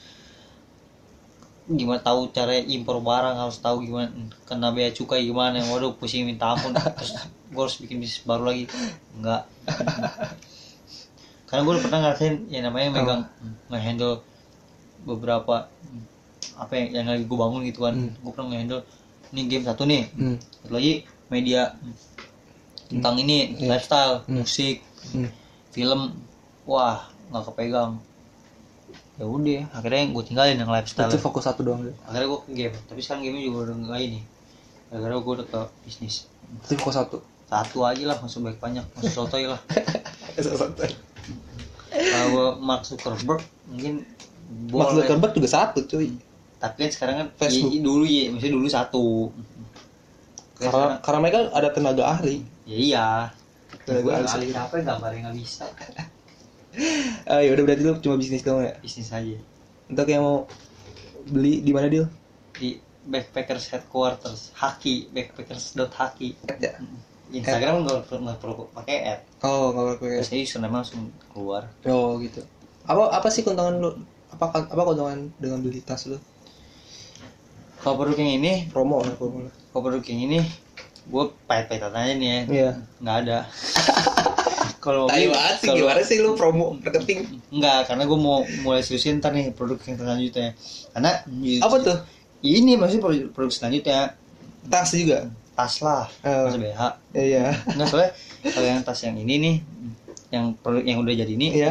S2: gimana tahu cara impor barang harus tahu gimana kena bea cukai gimana waduh pusing minta ampun terus gue harus bikin bisnis baru lagi enggak karena gue pernah ngerasain yang namanya megang ngehandle beberapa apa yang, yang lagi gue bangun gitu kan
S1: Hmm.
S2: gue pernah ngehandle ini game satu nih
S1: Hmm.
S2: satu lagi media tentang ini
S1: Iya.
S2: lifestyle
S1: Hmm.
S2: musik
S1: Hmm.
S2: film wah nggak kepegang ya udah akhirnya gue tinggalin yang lifestyle
S1: Itu fokus satu doang.
S2: akhirnya gue ke game tapi sekarang game juga udah nggak ini akhirnya gue udah ke bisnis
S1: Itu fokus satu.
S2: satu aja lah masuk banyak banyak masuk sotoy lah
S1: Santai.
S2: kalau gue Mark Zuckerberg mungkin
S1: Mark
S2: boleh.
S1: Zuckerberg juga satu cuy
S2: tapi kan sekarang kan
S1: Facebook.
S2: iya, dulu ya maksudnya dulu satu Kan
S1: karena
S2: sekarang-
S1: karena mereka ada tenaga ahli
S2: ya iya
S1: Tenaga
S2: gue
S1: ahli
S2: ahli apa gambarnya nggak bisa
S1: ah ya udah berarti lu cuma bisnis doang ya
S2: bisnis aja
S1: untuk yang mau beli di mana deal
S2: di backpackers headquarters haki backpackers.haki
S1: ya
S2: Instagram kan nggak perlu nggak perlu pakai ad
S1: oh nggak pakai
S2: terus username langsung keluar
S1: oh gitu apa apa sih keuntungan lu apa apa keuntungan dengan beli tas lu
S2: kalau produk yang ini
S1: promo lah promo lah
S2: kalau produk yang ini gue pahit-pahitan aja nih ya
S1: iya
S2: nggak ada kalau
S1: Tai
S2: mobil
S1: banget sih
S2: kalau-
S1: gimana sih lu promo marketing
S2: nggak karena gue mau mulai seriusin ntar nih produk yang selanjutnya karena
S1: apa tuh
S2: ini maksudnya produk, produk selanjutnya
S1: tas juga
S2: tas lah
S1: Eh.
S2: tas BH
S1: iya
S2: nggak soalnya kalau yang tas yang ini nih yang produk yang udah jadi ini
S1: iya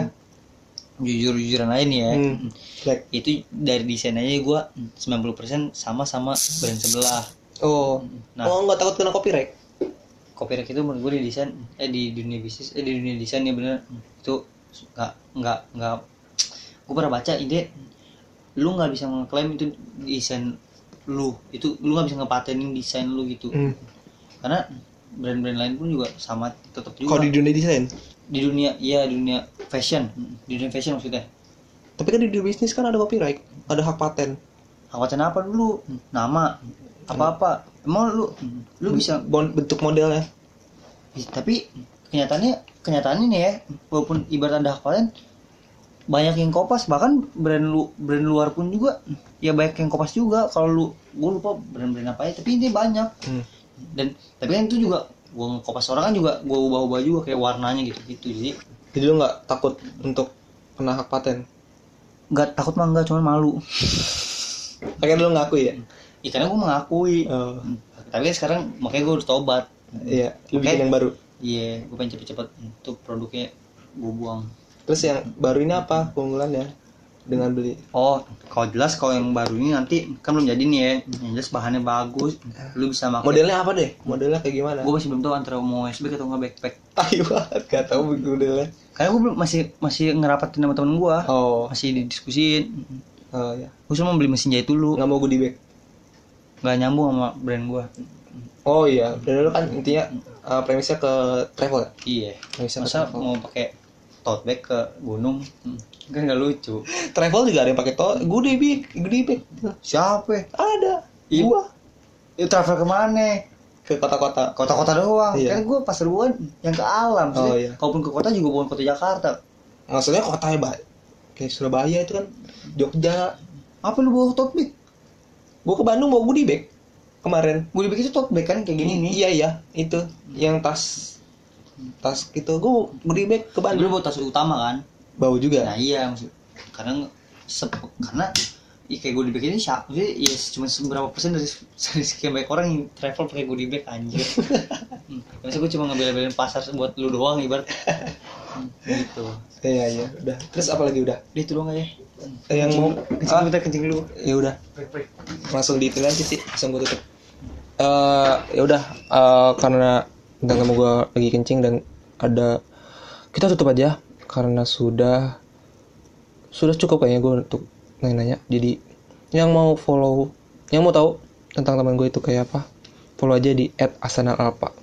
S2: jujur jujuran aja nih ya
S1: Hmm. Black.
S2: itu dari desain aja gue 90% sama sama brand sebelah
S1: oh
S2: Nah.
S1: oh nggak takut kena copyright
S2: copyright itu menurut gue di desain eh di dunia bisnis eh di dunia desain ya bener itu nggak nggak nggak gue pernah baca ide lu nggak bisa ngeklaim itu desain lu itu lu nggak bisa ngepatenin desain lu gitu
S1: Hmm.
S2: karena brand-brand lain pun juga sama tetap
S1: kalau
S2: juga
S1: di
S2: di,
S1: dunia desain
S2: dunia iya di dunia fashion di dunia fashion maksudnya
S1: tapi kan di dunia bisnis kan ada copyright ada hak paten
S2: Awacan apa dulu nama apa apa emang lu lu bisa
S1: Bon- bentuk modelnya
S2: Ih, tapi kenyataannya kenyataannya nih ya walaupun ibarat ada hafalan banyak yang kopas bahkan brand lu brand luar pun juga ya banyak yang kopas juga kalau lu gue lupa brand-brand apa ya tapi ini banyak
S1: Hmm.
S2: dan tapi kan itu juga gue kopas orang kan juga gue ubah-ubah juga kayak warnanya gitu gitu jadi
S1: jadi lu nggak takut untuk kena hak paten
S2: nggak takut mah nggak cuman malu
S1: akhirnya lu ngaku ya
S2: ya, karena gue mengakui
S1: oh,
S2: tapi kan sekarang makanya gue udah tobat
S1: iya lu bikin
S2: Oke.
S1: yang baru
S2: iya gue pengen cepet-cepet tuh produknya gue buang
S1: terus yang baru ini apa keunggulannya dengan beli
S2: Oh, kalau jelas kalau yang baru ini nanti kan belum jadi nih ya. Yang jelas bahannya bagus, lu bisa pakai.
S1: modelnya apa deh modelnya kayak gimana
S2: Gue masih belum tahu antara mau USB atau nggak backpack.
S1: tai banget gak tau modelnya
S2: Karena gue belum masih masih ngerapatin sama temen gue,
S1: oh
S2: masih didiskusin.
S1: oh ya
S2: Gue cuma beli mesin jahit dulu,
S1: nggak mau goodie bag
S2: nggak nyambung sama brand gue.
S1: oh iya dan lu kan intinya eh, premisnya ke travel ya
S2: Iya.
S1: premisnya ke
S2: Masa
S1: travel
S2: mau pakai tote bag ke gunung? Kan nggak lucu.
S1: travel juga ada yang pakai to goodie bag goodie bag
S2: Siapa? ya?
S1: ada
S2: Iya.
S1: gua
S2: Itu travel kemana?
S1: ke kota-kota
S2: Kota-kota doang.
S1: Iya.
S2: Kan gue Pasuruan yang ke
S1: Oh,
S2: alam. Maksudnya,
S1: iya.
S2: Kalaupun ke kota juga bukan kota Jakarta.
S1: maksudnya kota ya Ba- kayak Surabaya itu kan Jogja
S2: Apa lu bawa tote bag?
S1: gua ke Bandung bawa goodie bag kemarin
S2: Goodie bag itu tote bag kan kayak gini nih.
S1: iya iya itu yang tas tas gitu gua goodie bag ke
S2: Dulu
S1: Bandung
S2: bawa tas utama kan.
S1: bau
S2: Nah
S1: juga
S2: iya maksud karena nge- sep- karena ya, kayak goodie bag ini siapa maksudnya ya cuma seberapa persen dari, dari sekian banyak orang yang travel pakai goodie bag anjir. hmm. Maksudnya gue cuma ngebela-belain pasar buat lu doang ibarat. Hmm, gitu.
S1: iya iya udah terus apa lagi udah
S2: Dia itu doang
S1: Ah.
S2: aja.
S1: yang mau
S2: Kencing
S1: ah,
S2: bentar kencing dulu.
S1: ya udah langsung di itu aja sih langsung gua tutup Eh ya udah eh, karena udah mau gua lagi kencing dan ada kita tutup aja karena sudah sudah cukup kayaknya gue untuk nanya-nanya jadi yang mau follow yang mau tahu tentang teman gue itu kayak apa follow aja di @asanalalpa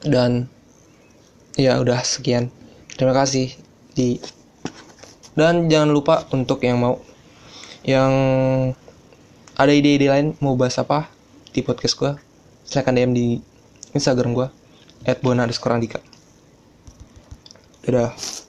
S1: dan ya udah sekian terima kasih di dan jangan lupa untuk yang mau yang ada ide-ide lain mau bahas apa di podcast gue silahkan DM di Instagram gue @bona_andika dadah